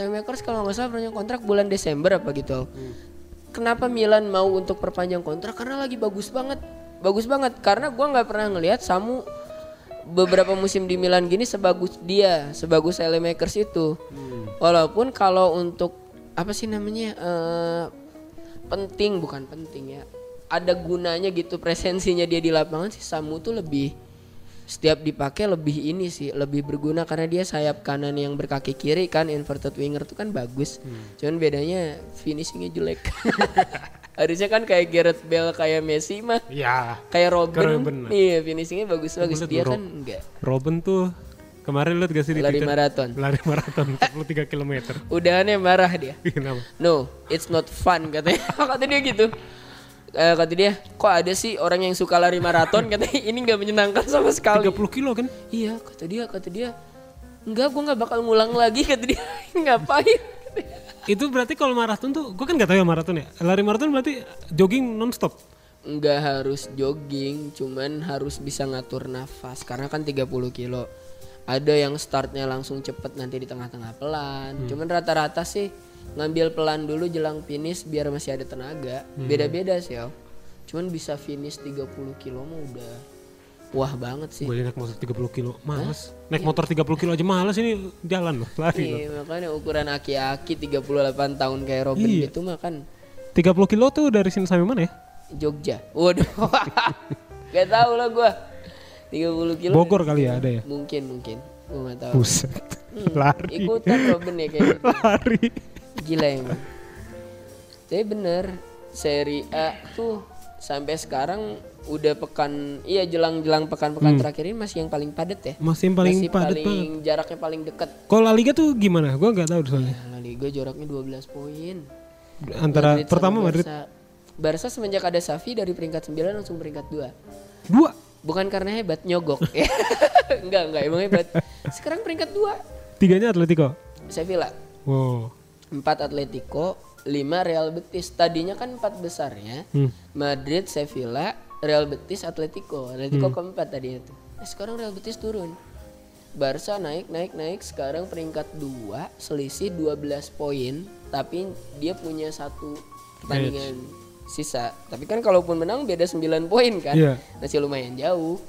B: Makers kalau nggak salah perpanjang kontrak bulan Desember apa gitu kenapa Milan mau untuk perpanjang kontrak karena lagi bagus banget bagus banget karena gua nggak pernah ngelihat Samu beberapa musim di Milan gini sebagus dia sebagus Makers itu walaupun kalau untuk apa sih namanya eh penting bukan penting ya ada gunanya gitu presensinya dia di lapangan sih Samu tuh lebih setiap dipakai lebih ini sih lebih berguna karena dia sayap kanan yang berkaki kiri kan inverted winger tuh kan bagus
A: Hmm.
B: cuman bedanya finishingnya jelek harusnya kan kayak Gareth Bale kayak Messi mah
A: Ya.
B: kayak Robin,
A: Robin lah.
B: iya finishingnya bagus bagus
A: Aku liat
B: dia
A: Rob-
B: kan enggak
A: Robin tuh kemarin lihat gak sih di
B: lari
A: Twitter?
B: maraton
A: Lari maraton 43 km.
B: udahannya marah dia
A: Iya, Kenapa?
B: no it's not fun katanya kata dia gitu Eh, kata dia kok ada sih orang yang suka lari maraton katanya ini nggak menyenangkan sama sekali
A: 30 kilo kan?
B: iya kata dia kata dia enggak gua nggak bakal ngulang lagi kata dia ngapain
A: Itu berarti kalau maraton tuh, gue kan gak tahu ya maraton ya. Lari maraton berarti jogging nonstop.
B: nggak harus jogging cuman harus bisa ngatur nafas karena kan 30 kilo ada yang startnya langsung cepet nanti di tengah-tengah pelan cuman rata-rata sih ngambil pelan dulu jelang finish biar masih ada tenaga beda-beda sih Al. cuman bisa finish 30 kilo mah udah wah banget sih
A: Gue naik motor 30 kilo, males. Naik motor 30 kilo aja males ini jalan loh, lari loh.
B: Iya, makanya ukuran aki-aki 38 tahun kayak Robin gitu mah kan
A: 30 kilo tuh dari sini sampai mana ya?
B: Jogja waduh gak tau lah gua 30 kilo
A: Bogor kali ya ada ya?
B: mungkin mungkin gua nggak tahu Hmm,
A: Buset, lari.
B: ikutan Robin ya kayaknya
A: Lari.
B: gila ya, emang tapi bener seri A tuh sampai sekarang udah pekan iya jelang-jelang pekan-pekan terakhir ini masih yang paling padat ya
A: Masih yang Hmm. paling
B: masih
A: padat
B: paling
A: banget.
B: jaraknya paling dekat
A: Kalau La Liga tuh gimana? Gue gak tahu soalnya.
B: ya, La Liga jaraknya 12 poin
A: Antara
B: sama
A: Eh, pertama Madrid
B: Barca. Barca semenjak ada Safi dari peringkat 9 langsung peringkat 2
A: dua.
B: bukan karena hebat nyogok enggak enggak emang hebat sekarang peringkat 2
A: Tiganya Atletico.
B: Sevilla
A: Wow.
B: 4 Atletico, 5 Real Betis. Tadinya kan 4 besarnya.
A: Hmm.
B: Madrid, Sevilla, Real Betis, Atletico. Atletico keempat tadinya tuh. Nah, sekarang Real Betis turun. Barca naik, naik, naik. Sekarang peringkat 2, selisih 12 poin, tapi dia punya satu pertandingan sisa. Tapi kan kalaupun menang beda 9 poin kan.
A: Iya.
B: Masih lumayan jauh.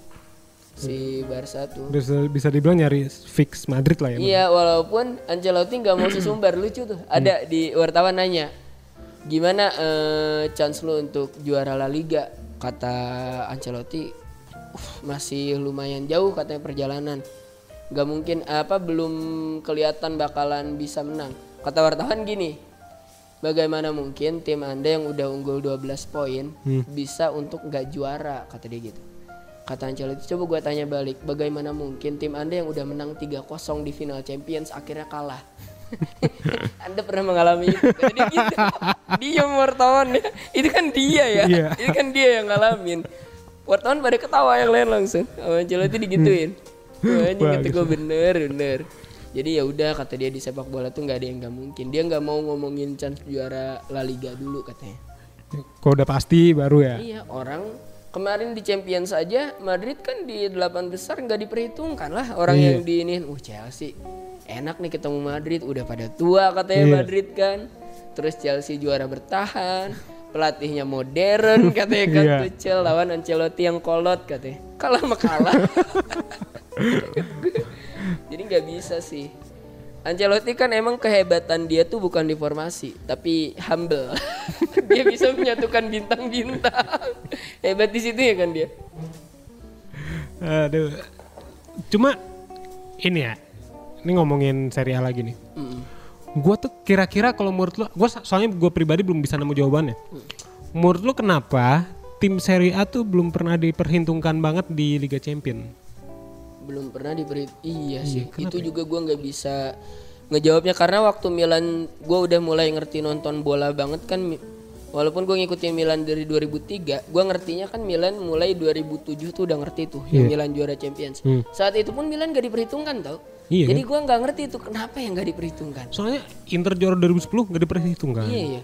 B: Si Barca tuh.
A: Bisa bisa dibilang nyari fix Madrid lah ya.
B: Iya, walaupun Ancelotti nggak mau sesumbar lucu tuh. Ada di wartawan nanya, gimana eh, chance lu untuk juara La Liga? Kata Ancelotti, "Uh, masih lumayan jauh katanya perjalanan. Gak mungkin apa belum kelihatan bakalan bisa menang. Kata wartawan gini, bagaimana mungkin tim anda yang udah unggul 12 poin bisa untuk nggak juara? Kata dia gitu. Kata Ancelotti, coba gue tanya balik, bagaimana mungkin tim Anda yang udah menang 3-0 di final Champions akhirnya kalah? anda pernah mengalami itu? Kata dia gitu. Dia wartawan ya. Itu kan dia ya.
A: Iya.
B: Itu kan dia yang ngalamin. Wartawan pada ketawa yang lain langsung. Sama Ancelotti digituin. Wah, ini kata gue bener, bener. Jadi ya udah kata dia di sepak bola tuh nggak ada yang nggak mungkin. Dia nggak mau ngomongin chance juara La Liga dulu katanya.
A: Kalau udah pasti baru ya.
B: Iya orang kemarin di Champions aja Madrid kan di delapan besar nggak diperhitungkan lah orang yang diinin. Uh Chelsea enak nih ketemu Madrid udah pada tua katanya Madrid kan. Terus Chelsea juara bertahan, pelatihnya modern katanya kan
A: Iya.
B: Tuchel lawan Ancelotti yang kolot katanya. Kalah mah kalah. Jadi nggak bisa sih. Ancelotti kan emang kehebatan dia tuh bukan di formasi, tapi humble. dia bisa menyatukan bintang-bintang. Hebat di situ ya kan dia.
A: Aduh. Cuma ini ya. Ini ngomongin Serie A lagi nih.
B: Mm.
A: Gue tuh kira-kira kalau menurut lo, gue soalnya gue pribadi belum bisa nemu jawabannya. Menurut lo kenapa tim Serie A tuh belum pernah diperhitungkan banget di Liga Champion?
B: Belum pernah diberi iya sih. Itu
A: ya?
B: juga gua nggak bisa ngejawabnya karena waktu Milan gua udah mulai ngerti nonton bola banget kan Mi- walaupun gue ngikutin Milan dari 2003, gua ngertinya kan Milan mulai 2007 tuh udah ngerti tuh yang Milan juara Champions.
A: Iya. Hmm.
B: Saat itu pun Milan gak diperhitungkan tau.
A: Iya
B: Jadi gua nggak ngerti itu kenapa yang nggak diperhitungkan.
A: Soalnya Inter juara 2010 gak diperhitungkan.
B: Iya iya.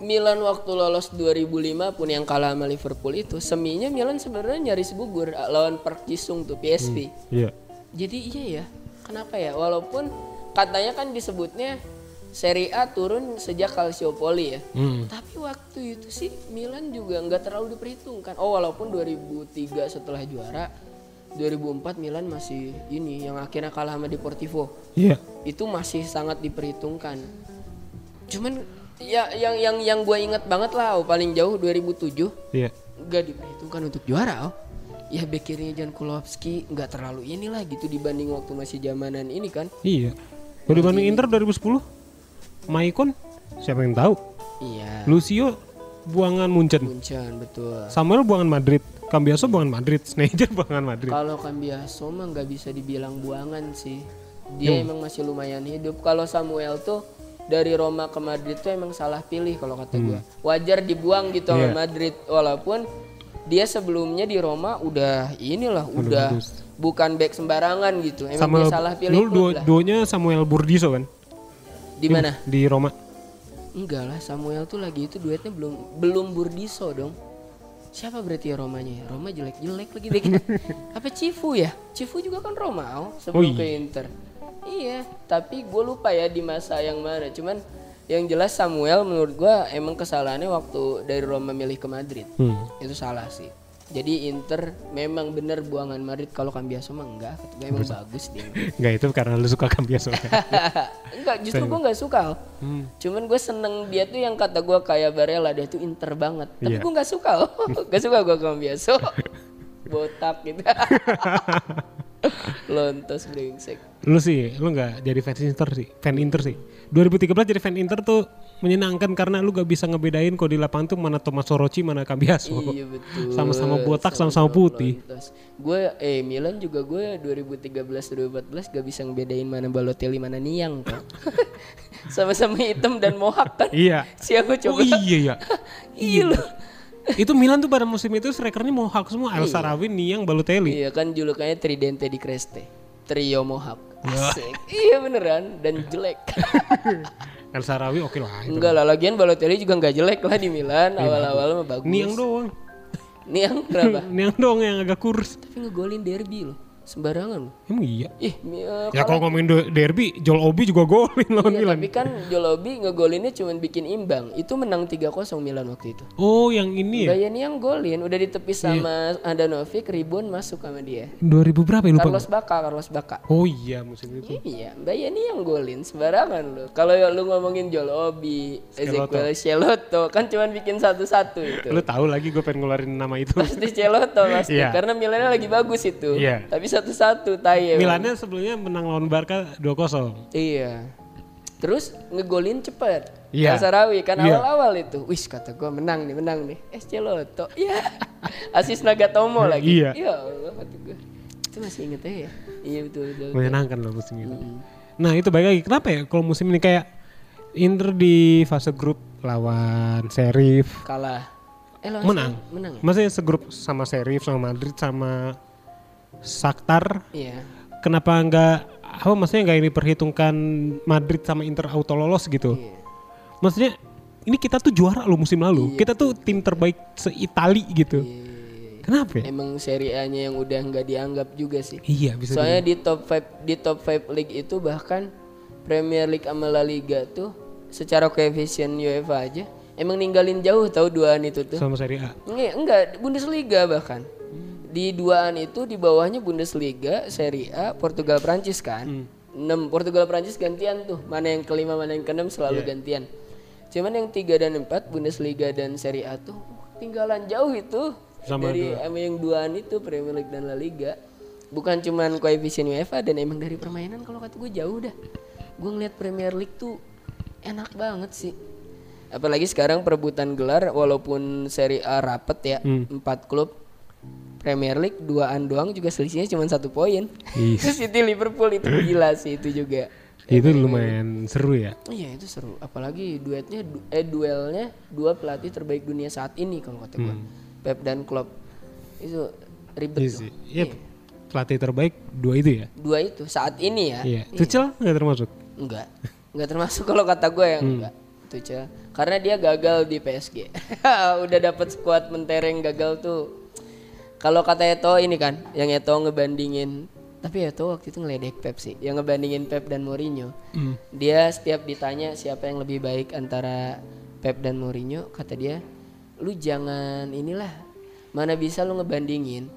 B: Milan waktu lolos 2005 pun yang kalah sama Liverpool itu seminya Milan sebenarnya nyaris gugur eh, lawan Park Jisung tuh PSV.
A: Iya.
B: Jadi iya ya. Kenapa ya? Walaupun katanya kan disebutnya Serie A turun sejak Calciopoli ya.
A: Hmm.
B: Tapi waktu itu sih Milan juga nggak terlalu diperhitungkan. Oh walaupun 2003 setelah juara, 2004 Milan masih ini yang akhirnya kalah sama Deportivo
A: Iya.
B: itu masih sangat diperhitungkan. Cuman ya yang yang yang gue ingat banget lah, oh, paling jauh 2007
A: Iya.
B: nggak diperhitungkan untuk juara. Oh. ya bek kirinya Jan Kulowski nggak terlalu inilah gitu dibanding waktu masih zamanan ini kan.
A: Iya. Kalau dibanding Inter 2010, Maicon siapa yang tahu?
B: Iya.
A: Lucio buangan Munchen,
B: Munchen betul.
A: Samuel buangan Madrid, Cambiaso buangan Madrid, Schneider buangan Madrid.
B: Kalau Kambiaso mah nggak bisa dibilang buangan sih. Dia emang masih lumayan hidup. Kalau Samuel tuh dari Roma ke Madrid tuh emang salah pilih kalau kata gua. Wajar dibuang gitu
A: Hmm.
B: sama
A: Iya.
B: Madrid walaupun dia sebelumnya di Roma udah inilah udah
A: bagus.
B: bukan back sembarangan gitu. Emang
A: Sama
B: dia salah pilih
A: dulu duo,
B: klub lah.
A: duonya Samuel Burdiso kan?
B: Di mana?
A: Di Roma.
B: Enggak lah Samuel tuh lagi itu duetnya belum belum Burdiso dong. Siapa berarti ya Romanya ya? Roma jelek-jelek lagi deh. Apa Cifu ya? Cifu juga kan Roma oh, sebelum
A: Oh,
B: ke Inter. Iya, tapi gue lupa ya di masa yang mana. Cuman yang jelas Samuel menurut gue emang kesalahannya waktu dari Roma milih ke Madrid.
A: Hmm.
B: Itu salah sih. Jadi Inter memang bener buangan Madrid kalau Cambiaso mah enggak. Kata Gue emang bagus dia.
A: Enggak itu karena lu suka Cambiaso kan? Hmm.
B: enggak, justru gue nggak suka. oh. Al. Cuman gue seneng dia tuh yang kata gue kayak Barella dia tuh inter banget. Tapi
A: Iya.
B: gue nggak suka, Al. nggak suka gue sama biasa. Botak gitu. Lontos brengsek.
A: lu sih, lu nggak jadi fans Inter sih, fan Inter sih. 2013 jadi fan Inter tuh menyenangkan karena lu gak bisa ngebedain kok di lapangan tuh mana Tommaso Rocci mana Cambiaso.
B: Iya betul.
A: Sama-sama botak, sama-sama putih.
B: Gue eh Milan juga gue 2013 2014 gak bisa ngebedain mana Balotelli mana Niang kan. Sama-sama hitam dan mohak kan.
A: Iya.
B: Siapa
A: Oh
B: coba?
A: iya ya.
B: iya loh.
A: itu Milan tuh pada musim itu strikernya mohawk semua El Sarawi, Niang, Balotelli.
B: Iya kan julukannya Tridente di Creste. Trio Mohawk. Asik. iya beneran dan jelek.
A: El Sarawi oke lah. itu.
B: Gitu Enggak lah lagian Balotelli juga nggak jelek lah di Milan awal-awal mah bagus.
A: Niang doang.
B: Niang kenapa?
A: Niang doang yang agak kurus.
B: Tapi ngegolin derby loh. Sembarangan loh.
A: Emang iya.
B: Ih, mi- eh,
A: Ya kalau ngomongin de- derby, Joel Obi juga golin lawan
B: iya,
A: Milan.
B: tapi kan Jolobi ngegolinnya cuma bikin imbang. Itu menang 3-0 Milan waktu itu.
A: Oh, yang ini ya.
B: Gaya Niang golin udah ditepis sama Andanovic, ribon masuk sama dia.
A: 2000 berapa ya lupa.
B: Carlos Bacca, Carlos Bacca.
A: Oh iya musim itu.
B: Iya, Mbak Yani yang golin sembarangan lu. Kalau ya lu ngomongin Joel Obi, Ezekiel Celoto, kan cuman bikin satu-satu itu.
A: Lu tahu lagi gue pengen ngeluarin nama itu.
B: Pasti Celoto pasti,
A: Iya.
B: karena Milannya lagi bagus itu.
A: Iya.
B: Tapi satu-satu taye.
A: Milannya sebelumnya menang lawan Barca 2-0.
B: Iya. Terus ngegolin cepet.
A: Iya.
B: El Sarawi kan
A: Iya.
B: awal-awal itu. Wis kata gua menang nih, menang nih. Eh Celoto. Iya. Asis Nagatomo lagi.
A: Iya.
B: Ya Allah kata gua. Itu masih inget aja ya. Iya betul betul.
A: Menyenangkan loh musim itu. Nah, itu baik lagi. Kenapa ya kalau musim ini kayak Inter di fase grup lawan Serif,
B: Kalah. Eh, lawan
A: menang.
B: siapa? Menang ya?
A: Maksudnya segrup sama Serif, sama Madrid, sama Shakhtar.
B: Iya.
A: Kenapa nggak apa maksudnya nggak ini perhitungkan Madrid sama Inter auto lolos gitu?
B: Iya.
A: Maksudnya ini kita tuh juara loh musim lalu. Kita tuh tim terbaik se-Itali gitu.
B: Iya.
A: Kenapa ya?
B: Emang Serie A-nya yang udah nggak dianggap juga sih.
A: Iya bisa.
B: Soalnya di top 5 di top 5 league itu bahkan Premier League sama La Liga tuh secara koefisien UEFA aja emang ninggalin jauh tahu duaan itu
A: di-
B: tuh.
A: sama Serie A.
B: Nge- enggak, Bundesliga bahkan. Di duaan itu di bawahnya Bundesliga, Serie A, Portugal Prancis kan. 6 Portugal Prancis gantian tuh. Mana yang kelima, mana yang keenam selalu gantian. Cuman yang 3 dan 4 Bundesliga dan Serie A tuh uh, tinggalan jauh itu
A: Sama
B: dari sama yang duaan itu Premier League dan La Liga. Bukan cuman koefisien UEFA dan emang dari permainan kalau kata gue jauh dah. Gue ngeliat Premier League tuh enak banget sih. Apalagi sekarang perebutan gelar walaupun Serie A rapet ya,
A: Hmm.
B: empat klub. Premier League duaan doang juga selisihnya cuma satu poin. City Liverpool itu gila sih itu juga.
A: Itu lumayan seru ya.
B: Iya itu seru. Apalagi duetnya du- eh duelnya dua pelatih terbaik dunia saat ini kalau kata gua. Pep dan Klopp. Itu
A: Hmm.
B: ribet
A: Iya
B: tuh.
A: sih. Iya. Pelatih terbaik dua itu ya.
B: Dua itu saat ini ya.
A: Iya. Tuchel nggak termasuk.
B: Enggak. Enggak termasuk kalau kata gue yang enggak. Tuchel. Karena dia gagal di PSG. Udah dapat skuad mentereng gagal tuh. Kalau kata Eto ini kan, yang Eto ngebandingin tapi Eto waktu itu ngeledek Pep sih, yang ngebandingin Pep dan Mourinho. Dia setiap ditanya siapa yang lebih baik antara Pep dan Mourinho, kata dia, "Lu jangan inilah. Mana bisa lu ngebandingin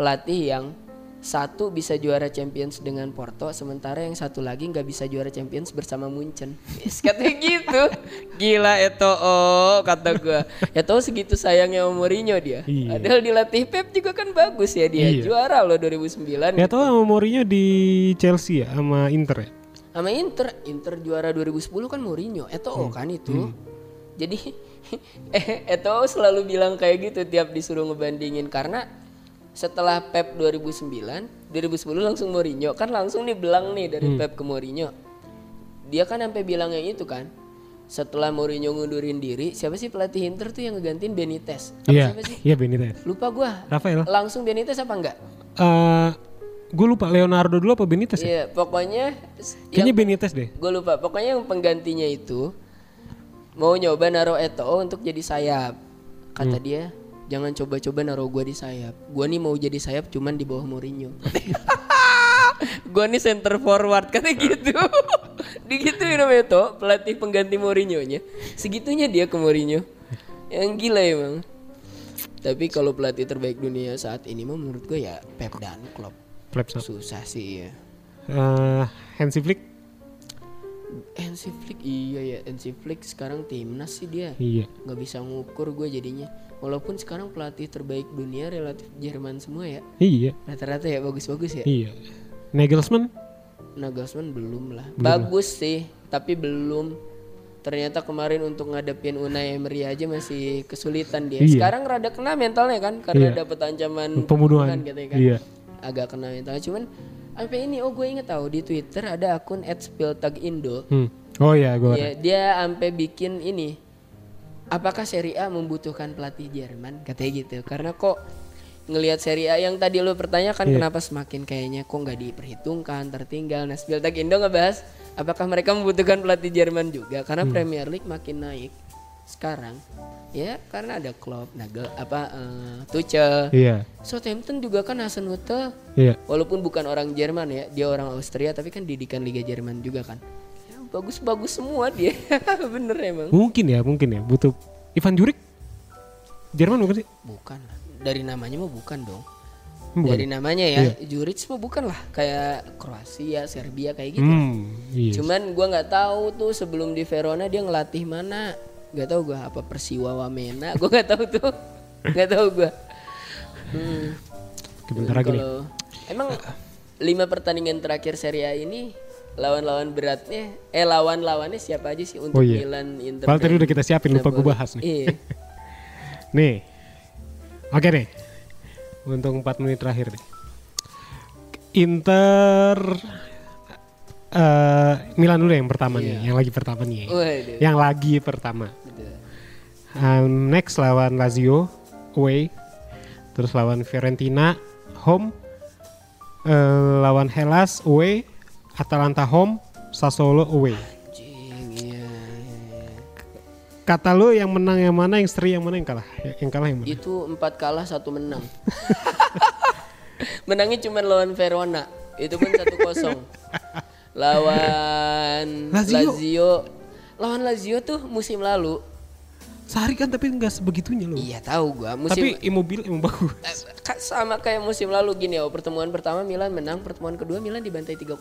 B: pelatih yang satu bisa juara Champions dengan Porto sementara yang satu lagi nggak bisa juara Champions bersama Munchen Yes, katanya gitu gila Eto'o kata gua Eto'o segitu sayangnya sama Mourinho dia
A: Iya.
B: padahal dilatih Pep juga kan bagus ya dia
A: Iya.
B: juara loh 2009
A: Ya tau sama Mourinho di Chelsea ya sama Inter ya.
B: sama Inter Inter juara 2010 kan Mourinho Eto'o kan itu jadi eh, Eto'o selalu bilang kayak gitu tiap disuruh ngebandingin karena setelah Pep 2009 2010 langsung Mourinho kan langsung dibelang nih dari Pep ke Mourinho dia kan sampai bilangnya itu kan setelah Mourinho ngundurin diri siapa sih pelatih Inter tuh yang ngegantiin Benitez Apa
A: Iya.
B: siapa sih
A: Iya Benitez.
B: lupa gua
A: Rafael.
B: langsung Benitez apa enggak
A: Eh gue lupa Leonardo dulu apa Benitez ya?
B: iya pokoknya s- yang
A: Kayaknya Benitez deh.
B: gue lupa pokoknya yang penggantinya itu mau nyoba naro Eto'o untuk jadi sayap kata dia jangan coba-coba naro gue di sayap gue nih mau jadi sayap cuman di bawah Mourinho gue nih center forward kata gitu digituin sama Eto'o pelatih pengganti Mourinho nya segitunya dia ke Mourinho yang gila emang tapi kalau pelatih terbaik dunia saat ini mah menurut gue ya Pep dan Klopp
A: Flaps.
B: susah sih ya
A: Eh Hansi Flick.
B: NC Flick iya ya NC Flick sekarang timnas sih dia
A: Iya.
B: nggak bisa ngukur gue jadinya walaupun sekarang pelatih terbaik dunia relatif Jerman semua ya
A: Iya.
B: rata-rata ya bagus-bagus ya
A: Iya. Nagelsmann?
B: Nagelsmann belum lah bagus sih tapi belum ternyata kemarin untuk ngadepin Unai Emery aja masih kesulitan dia
A: Iya.
B: sekarang rada kena mentalnya kan karena
A: Iya.
B: dapat ancaman
A: Pembunuhan.
B: katanya kan
A: Iya.
B: agak kena mentalnya cuman sampai ini oh gue inget tahu di Twitter ada akun @spiltagindo
A: Hmm. Oh iya gue.
B: Iya, dia sampai bikin ini. Apakah Serie A membutuhkan pelatih Jerman? Katanya gitu. Karena kok ngelihat Serie A yang tadi lu pertanyakan kenapa semakin kayaknya kok nggak diperhitungkan, tertinggal. Nah, Spieltag Indo ngebahas apakah mereka membutuhkan pelatih Jerman juga? Karena Premier League makin naik sekarang. Ya, karena ada Klopp, Nagel, apa eh, Tuchel.
A: Iya.
B: Southampton juga kan Hasenhuttl
A: Iya.
B: Walaupun bukan orang Jerman ya, dia orang Austria tapi kan didikan Liga Jerman juga kan. Ya, Bagus-bagus semua dia, bener emang.
A: Mungkin ya, mungkin ya. Butuh Ivan Jurik? Jerman bukan sih? Hmm,
B: Bukan lah. dari namanya mah bukan dong.
A: Bukan. Iya.
B: Dari namanya ya, Juric mah bukan lah, kayak Kroasia, Serbia kayak gitu.
A: Hmm. Iya.
B: Cuman gua nggak tahu tuh sebelum di Verona dia ngelatih mana. Gak tahu gua apa Persiwa Wamena, gua nggak tahu tuh. Gak tahu gua. Hmm.
A: Oke, Bentar lagi nih.
B: Kalau- Gitu. Emang lima pertandingan terakhir Serie A ini lawan-lawan beratnya, eh lawan-lawannya siapa aja sih untuk
A: Oh, iya.
B: Milan, Inter?
A: Padahal tadi udah kita siapin lupa gue
B: Napoli.
A: bahas nih.
B: Iya.
A: Nih. Oke nih. Untuk 4 menit terakhir nih. Inter eh Milan dulu yang pertama nih, yang lagi pertama nih.
B: Iya. Waduh.
A: Yang lagi pertama.
B: Gitu.
A: Um, next lawan Lazio away. Terus lawan Fiorentina home. Eh, lawan Hellas away, Atalanta home, Sassuolo away.
B: Anjing, iya.
A: Kata lu yang menang yang mana, yang seri yang mana yang kalah? Ya, Yang, yang kalah yang mana?
B: Itu empat kalah satu menang. Menangnya cuma lawan Verona, itu pun satu kosong. lawan
A: Lazio.
B: Lazio, lawan Lazio tuh musim lalu.
A: Sehari kan tapi nggak sebegitunya loh.
B: Iya tahu gua
A: Tapi
B: musim
A: Immobile emang bagus.
B: Eh, ka- sama kayak musim lalu gini ya pertemuan pertama Milan menang pertemuan kedua Milan dibantai 3-0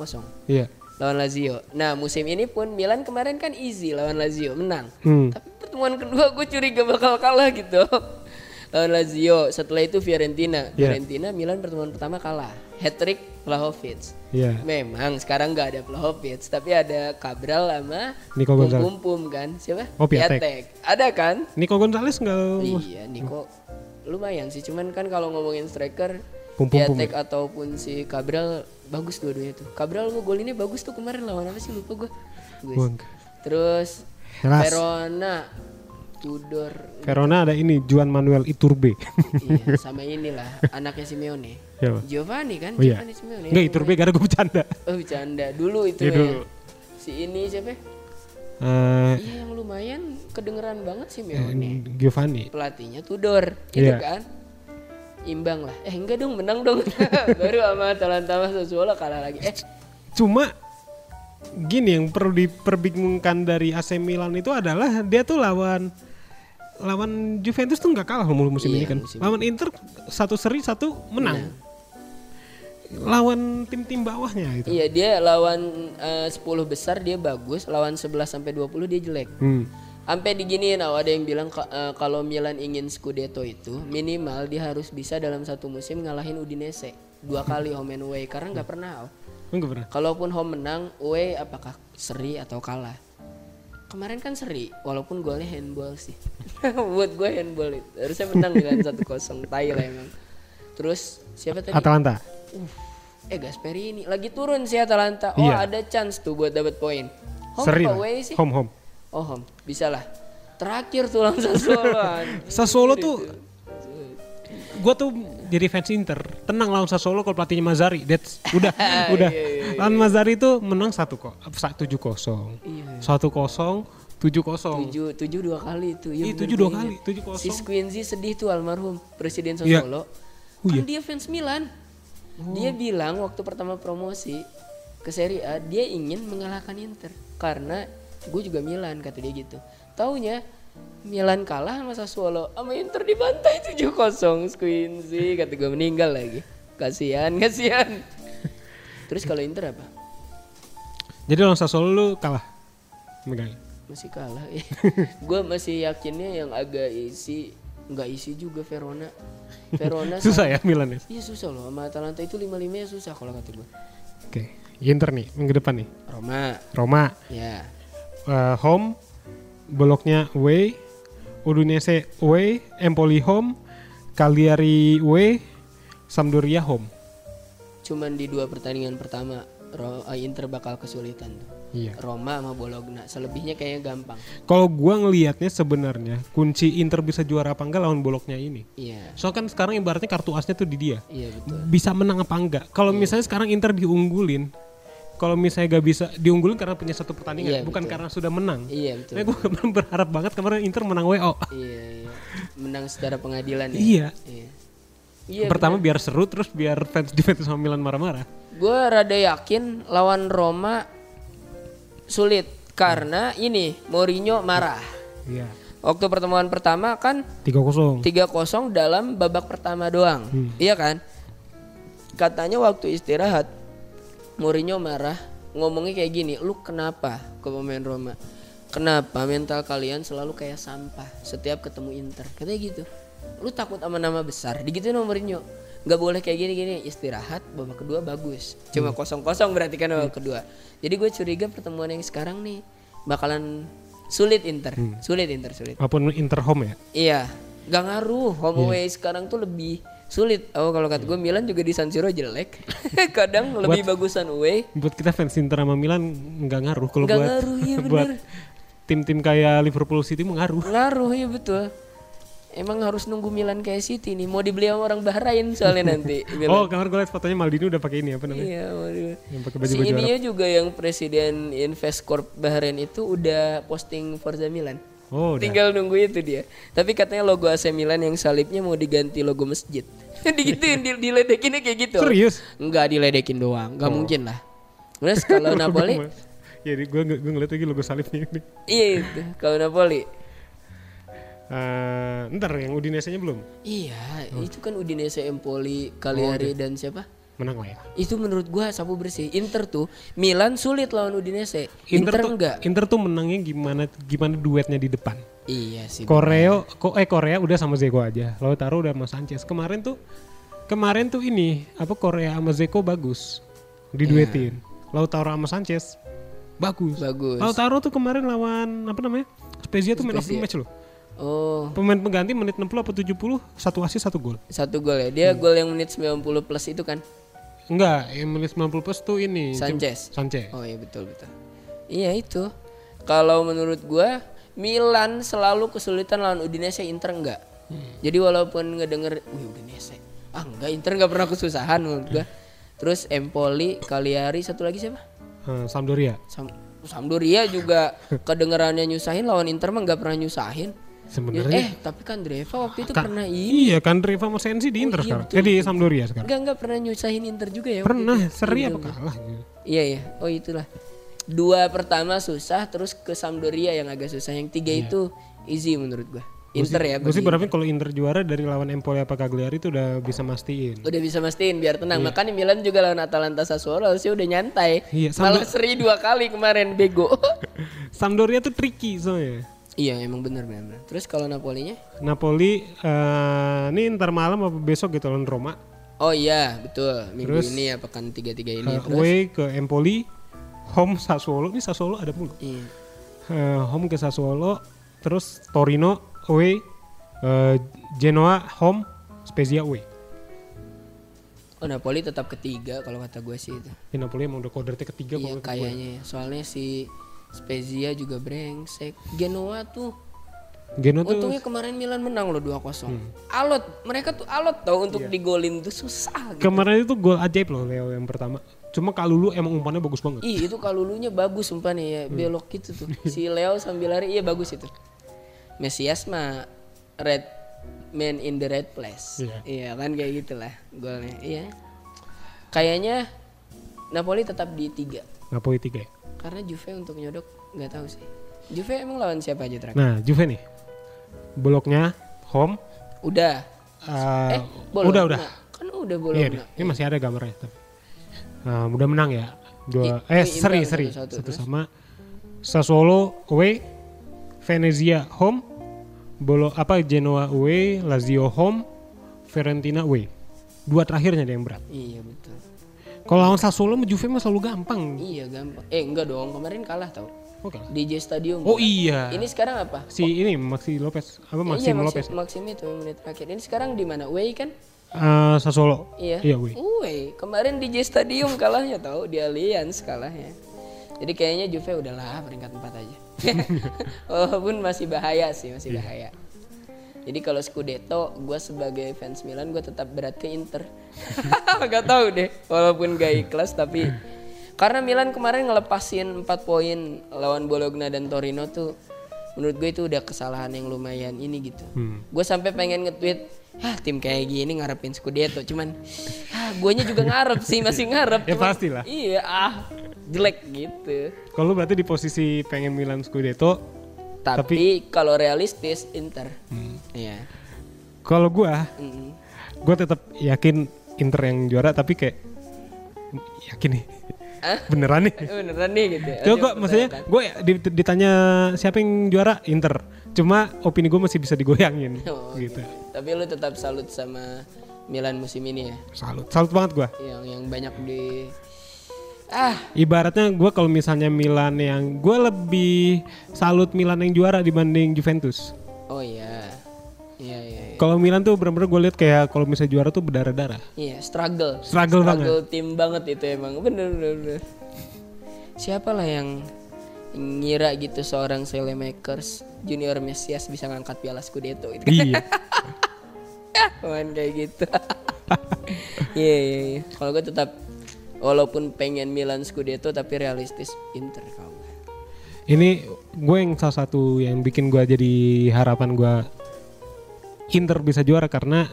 A: Iya.
B: lawan Lazio nah musim ini pun Milan kemarin kan easy lawan Lazio menang
A: Hmm.
B: tapi pertemuan kedua gue curiga bakal kalah gitu lawan Lazio setelah itu Fiorentina
A: Iya.
B: Fiorentina Milan pertemuan pertama kalah hat trick Vlahovic
A: Iya.
B: memang sekarang nggak ada Vlahovic tapi ada Cabral sama
A: Nico Gonzalez.
B: Pum kan siapa
A: Oh, Piatek.
B: ada kan
A: Nico Gonzalez nggak
B: Iya, Niko lumayan sih. Cuman kan kalau ngomongin striker,
A: Pum-pum-pum
B: Piatek ataupun si Cabral bagus dua-duanya tuh. Cabral mau gol ini bagus tuh kemarin lawan apa sih lupa gue.
A: Gua nggak.
B: Terus
A: Hellas.
B: Verona, Tudor,
A: Verona ada ini Juan Manuel Iturbe.
B: iya, sama inilah anaknya Simeone.
A: Siapa?
B: Giovanni kan,
A: Oh iya.
B: Giovanni Simeone.
A: Enggak Iturbe gara gue bercanda.
B: Oh bercanda dulu itu
A: Iya,
B: ya.
A: dulu.
B: Si ini siapa?
A: Eh,
B: Iya yang lumayan kedengeran banget Simeone.
A: Giovanni.
B: pelatihnya Tudor gitu
A: Iya.
B: kan imbang lah eh enggak dong menang dong baru sama Atalanta sama Sassuolo kalah lagi eh
A: Cuma gini yang perlu diperbingungkan dari AC Milan itu adalah dia tuh lawan lawan Juventus tuh nggak kalah loh musim
B: Iya,
A: ini kan.
B: musim
A: Lawan Inter satu seri satu menang. lawan tim-tim bawahnya itu.
B: Iya dia lawan eh, 10 besar dia bagus, lawan 11 sampai 20 dia jelek.
A: Hmm.
B: Sampai diginiin oh, ada yang bilang ka- eh, kalau Milan ingin Scudetto itu minimal dia harus bisa dalam satu musim ngalahin Udinese dua kali home and away karena nggak pernah. Oh.
A: Lu nggak pernah.
B: Kalaupun home menang, away apakah seri atau kalah? Kemarin kan seri, walaupun golnya handball sih. Buat gue handball itu. Harusnya menang dengan 1-0 tai lah emang. Terus siapa tadi?
A: Atalanta.
B: Eh Gasperini lagi turun sih Atalanta. Oh
A: Iya.
B: ada chance tuh buat dapat poin. Home
A: Seri
B: apa
A: lah.
B: away sih?
A: Home home.
B: Oh home, bisa lah. Terakhir tuh langsung Sassuolo. anjing.
A: Sassuolo tuh gua tuh jadi fans Inter tenang lawan Sassuolo kalau pelatihnya Mazari that's udah
B: Iya,
A: udah lawan Mazari itu menang satu kok tujuh kosong
B: Iya.
A: satu kosong tujuh kosong
B: tujuh tujuh dua kali itu.
A: Iya,
B: Iya
A: tujuh dua kali, tujuh kosong.
B: Si Squinzy sedih tuh almarhum presiden
A: Iya.
B: Sassuolo.
A: Oh, iya.
B: kan dia fans Milan. Dia bilang waktu pertama promosi ke Serie A dia ingin mengalahkan Inter karena gue juga Milan kata dia gitu. Taunya Milan kalah sama Sassuolo sama Inter dibantai 7-0 Squinzy kata gue meninggal lagi. Kasihan, kasihan. Terus kalau Inter apa?
A: jadi lawan Sassuolo lu kalah megang
B: masih kalah gue masih yakinnya yang agak isi nggak isi juga Verona Verona
A: susah ya Milan ya oke
B: iya susah loh sama Atalanta itu lima limanya susah kalau kata gue
A: Inter nih minggu depan nih
B: Roma
A: Roma
B: ya
A: eh, home Bologna away Udinese away Empoli home Cagliari away Sampdoria home
B: cuman di dua pertandingan pertama Ro- eh, Inter bakal kesulitan tuh
A: iya
B: Roma sama Bologna selebihnya kayaknya gampang
A: Kalau gua ngelihatnya sebenarnya kunci Inter bisa juara apa enggak lawan boloknya ini.
B: iya
A: Soalnya kan sekarang ibaratnya kartu asnya tuh di dia.
B: iya betul
A: Bisa menang apa enggak? Kalau
B: Iya.
A: misalnya sekarang Inter diunggulin, kalau misalnya gak bisa diunggulin karena punya satu pertandingan,
B: Iya,
A: bukan
B: betul.
A: karena sudah menang.
B: iya betul
A: Nah, gue kemarin berharap banget kemarin Inter menang WO.
B: iya, iya. menang secara pengadilan ya
A: Iya.
B: iya, iya
A: Pertama biar seru, terus biar fans Juventus sama Milan marah-marah.
B: Gue rada yakin lawan Roma sulit karena ini Mourinho marah.
A: Iya.
B: Waktu pertemuan pertama kan
A: 3-0.
B: 3-0 dalam babak pertama doang. Iya kan? Katanya waktu istirahat Mourinho marah, ngomongnya kayak gini, "Lu kenapa ke pemain Roma? Kenapa mental kalian selalu kayak sampah setiap ketemu Inter?" Katanya gitu. Lu takut sama nama besar, digituin sama Mourinho. Gak boleh kayak gini-gini, istirahat babak kedua bagus. Cuma kosong-kosong berarti kan babak kedua. Jadi gue curiga pertemuan yang sekarang nih bakalan sulit Inter, sulit Inter, sulit.
A: Walaupun Inter home ya.
B: Iya, gak ngaruh. Home
A: Iya.
B: away sekarang tuh lebih sulit. Oh kalau kata gue Milan juga di San Siro jelek. Kadang lebih bagusan away.
A: Buat kita fans Inter sama Milan nggak ngaruh kalau
B: Nggak
A: buat
B: ngaruh, iya
A: buat
B: bener.
A: tim-tim kayak Liverpool City mengaruh.
B: Ngaruh ya betul. Emang harus nunggu Milan kayak City nih. Mau dibeli sama orang Bahrain soalnya nanti. Milan.
A: Oh, kemarin gue liat fotonya Maldini udah pakai ini apa namanya?
B: Iya, waduh.
A: Yang pakai
B: Si
A: baju-baju Arab.
B: ininya juga yang presiden Investcorp Bahrain itu udah posting Forza Milan.
A: Oh, udah.
B: Tinggal nunggu itu dia. Tapi katanya logo AC Milan yang salibnya mau diganti logo masjid. Digituin, di- diledekinnya kayak gitu.
A: Serius?
B: Enggak diledekin doang,
A: Oh.
B: nggak mungkin lah. Terus kalau Napoli,
A: Ya, gue gue ngeliat lagi logo salibnya ini.
B: iya itu. Kalau Napoli,
A: Eh, ntar yang Udinese-nya belum
B: iya
A: Oh.
B: itu kan Udinese, Empoli,
A: iya.
B: Cagliari dan siapa?
A: menang lah ya.
B: Itu menurut gua sapu bersih. Inter tuh, Milan sulit lawan Udinese. Inter,
A: tuh,
B: enggak.
A: Inter tuh menangnya gimana gimana duetnya di depan.
B: Iya sih.
A: Korea ko, eh Korea udah sama Zeko aja. Lalu taruh udah sama Sanchez. Kemarin tuh kemarin tuh ini apa Korea sama Zeko bagus diduetin. Lalu taruh sama Sanchez bagus.
B: Iya. Bagus.
A: Lalu taruh tuh kemarin lawan apa namanya? Spezia tuh main of the match loh.
B: Oh,
A: Pemain pengganti menit 60 apa 70 satu asis satu gol.
B: satu gol ya.
A: Hmm.
B: Dia gol yang menit 90 plus itu kan.
A: Enggak, yang menit 90 plus tuh ini
B: Sanchez.
A: Sanchez.
B: Oh iya betul betul. Iya itu. Kalau menurut gua Milan selalu kesulitan lawan Udinese Inter enggak. Jadi walaupun ngedenger wih Udinese. Ah enggak Inter enggak pernah kesusahan menurut gua. Terus Empoli, Cagliari, satu lagi siapa?
A: Eh, Sampdoria.
B: Sam Sampdoria juga kedengerannya nyusahin lawan Inter mah enggak pernah nyusahin.
A: Sebenarnya
B: eh, tapi kan Dreva waktu itu
A: Ka-
B: pernah ini.
A: iya kan Riva sama Sensi di Inter
B: iya,
A: sekarang.
B: betul, Ya,
A: Eh, di Sampdoria sekarang.
B: Enggak enggak pernah nyusahin Inter juga ya. waktu
A: Pernah
B: itu.
A: seri
B: Iya,
A: apa
B: bener.
A: kalah gitu.
B: Iya iya, oh itulah.
A: Iya.
B: Dua pertama susah, terus ke Sampdoria yang agak susah, yang tiga itu easy menurut gua. Inter ya.
A: Gue sih
B: bagi-
A: berharapin kalau Inter juara dari lawan Empoli apa Cagliari itu udah bisa mastiin.
B: Udah bisa mastiin biar tenang. Makanya Milan juga lawan Atalanta Sassuolo sih udah nyantai.
A: Iya,
B: Malah
A: sambil-
B: seri dua kali kemarin bego.
A: Sampdoria tuh tricky soalnya.
B: iya, emang bener bener. Terus kalau Napolinya?
A: Napoli eh ini ntar malam apa besok gitu lawan Roma.
B: Oh iya, betul. Minggu ini ya pekan tiga-tiga ini.
A: Eh,
B: Terus
A: away ke Empoli, home Sassuolo. Ini Sassuolo ada mulu.
B: iya.
A: Eh, home ke Sassuolo, terus Torino away, eh, Genoa home, Spezia away.
B: Oh, Napoli tetap ketiga kalau kata gue sih itu.
A: Ini Napoli emang udah kodratnya ketiga
B: Iya
A: kalau menurut gue.
B: kayaknya ya. Soalnya si Spezia juga brengsek. Genoa tuh
A: Genoa tuh
B: untungnya kemarin Milan menang loh 2-0.
A: Hmm.
B: Alot, mereka tuh alot tau
A: Iya.
B: untuk digolin tuh susah gitu.
A: kemarin itu gol ajaib loh Leo yang pertama. Cuma Kalulu emang umpannya bagus banget.
B: Ih, itu kalulunya bagus sumpah nih ya,
A: Hmm.
B: belok gitu tuh. Si Leo sambil lari iya bagus itu. Mesias mah red man in the red place.
A: Iya.
B: Iya kan kayak gitulah golnya. Iya. Kayaknya Napoli tetap di tiga
A: Napoli 3 ya.
B: karena Juve untuk nyodok nggak tahu sih. Juve emang lawan siapa aja terakhir?
A: Nah, Juve nih. Bloknya home.
B: Udah.
A: eh,
B: Eh, Bologna.
A: udah udah.
B: Kan udah
A: Iya,
B: Bologna.
A: nih, ini masih ada gambarnya. tapi. Nah, udah menang ya. Dua
B: I-
A: eh
B: ini
A: seri
B: imbang
A: seri.
B: satu-satu,
A: Satu,
B: terus?
A: sama Sassuolo away, Venezia home, Bolo apa Genoa away, Lazio home, Fiorentina away. Dua terakhirnya ada yang berat.
B: Iya betul.
A: Kalau lawan Sassuolo sama Juve mah selalu gampang.
B: Iya gampang. Eh enggak dong kemarin kalah tau.
A: Oke. lah.
B: DJ Stadium.
A: Oh iya.
B: Ini sekarang apa?
A: si ini Maxi Lopez apa
B: Ya,
A: Maxi
B: iya, Maxi-
A: Lopez?
B: Maxim itu yang menit terakhir. Ini sekarang di mana? Way kan?
A: Eh, Sassuolo.
B: Iya.
A: Iya, away.
B: Way. Kemarin di J Stadium kalahnya tahu di Allianz kalahnya. Jadi kayaknya Juve udahlah peringkat 4 aja. Walaupun masih bahaya sih, masih
A: Iya.
B: bahaya. Jadi kalau Scudetto, gue sebagai fans Milan gue tetap berat ke Inter. gak tahu deh, walaupun gak ikhlas tapi karena Milan kemarin ngelepasin 4 poin lawan Bologna dan Torino tuh menurut gue itu udah kesalahan yang lumayan ini gitu. Gue sampai pengen nge-tweet, "Hah, tim kayak gini ngarepin Scudetto." Cuman ah, guanya juga ngarep sih, masih ngarep.
A: Ya,
B: Cuman,
A: pastilah.
B: Iya, ah, jelek gitu.
A: Kalau lu berarti di posisi pengen Milan Scudetto,
B: Tapi, kalau realistis Inter. Iya.
A: kalau gua
B: Mm-mm.
A: gue tetap yakin Inter yang juara tapi kayak yakin nih
B: Hah?
A: beneran nih
B: Eh? Beneran nih gitu. ya.
A: Coba gue maksudnya gue ditanya siapa yang juara Inter cuma opini gue masih bisa digoyangin
B: Oh,
A: gitu
B: Tapi lu tetap salut sama Milan musim ini ya.
A: salut salut banget gue
B: Yang yang banyak di ah
A: ibaratnya gue kalau misalnya Milan yang gue lebih salut Milan yang juara dibanding Juventus
B: oh iya. Iya iya. iya.
A: kalau Milan tuh bener-bener gue lihat kayak kalau misalnya juara tuh berdarah-darah
B: Iya, struggle.
A: Struggle
B: tim banget itu emang. Bener bener. bener. Siapalah yang ngira gitu seorang Selemakers Junior Mesias bisa ngangkat piala Scudetto itu kan.
A: iya
B: Cuman kayak gitu. Iya iya iya. Kalau gue tetap walaupun pengen Milan Scudetto tapi realistis Inter kalau gue.
A: Ini gue yang salah satu yang bikin gue jadi harapan gue Inter bisa juara karena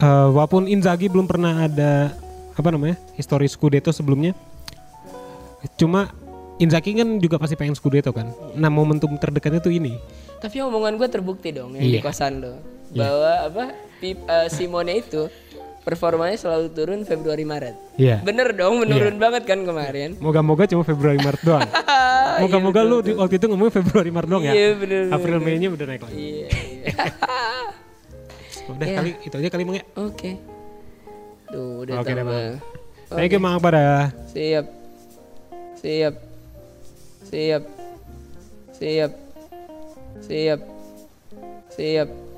A: eh, walaupun Inzaghi belum pernah ada apa namanya histori Scudetto sebelumnya. Cuma Inzaghi kan juga pasti pengen Scudetto kan. Nah momentum terdekatnya tuh ini.
B: Tapi omongan gue terbukti dong yang di
A: Iya.
B: kosan lo bahwa apa Pip, eh, Simone itu performanya selalu turun Februari Maret.
A: Iya.
B: Bener dong menurun banget kan kemarin.
A: Moga-moga cuma Februari Maret doang. Moga-moga lu di, waktu itu ngomongin Februari Maret doang ya.
B: Iya, bener,
A: April Mei-nya udah naik lagi.
B: Iya. iya.
A: Udah kali itu aja kali Mang ya.
B: Oke. Tuh udah
A: Oke deh,
B: tambah.
A: Thank you Mang pada
B: Siap. Siap. Siap. Siap. Siap. Siap.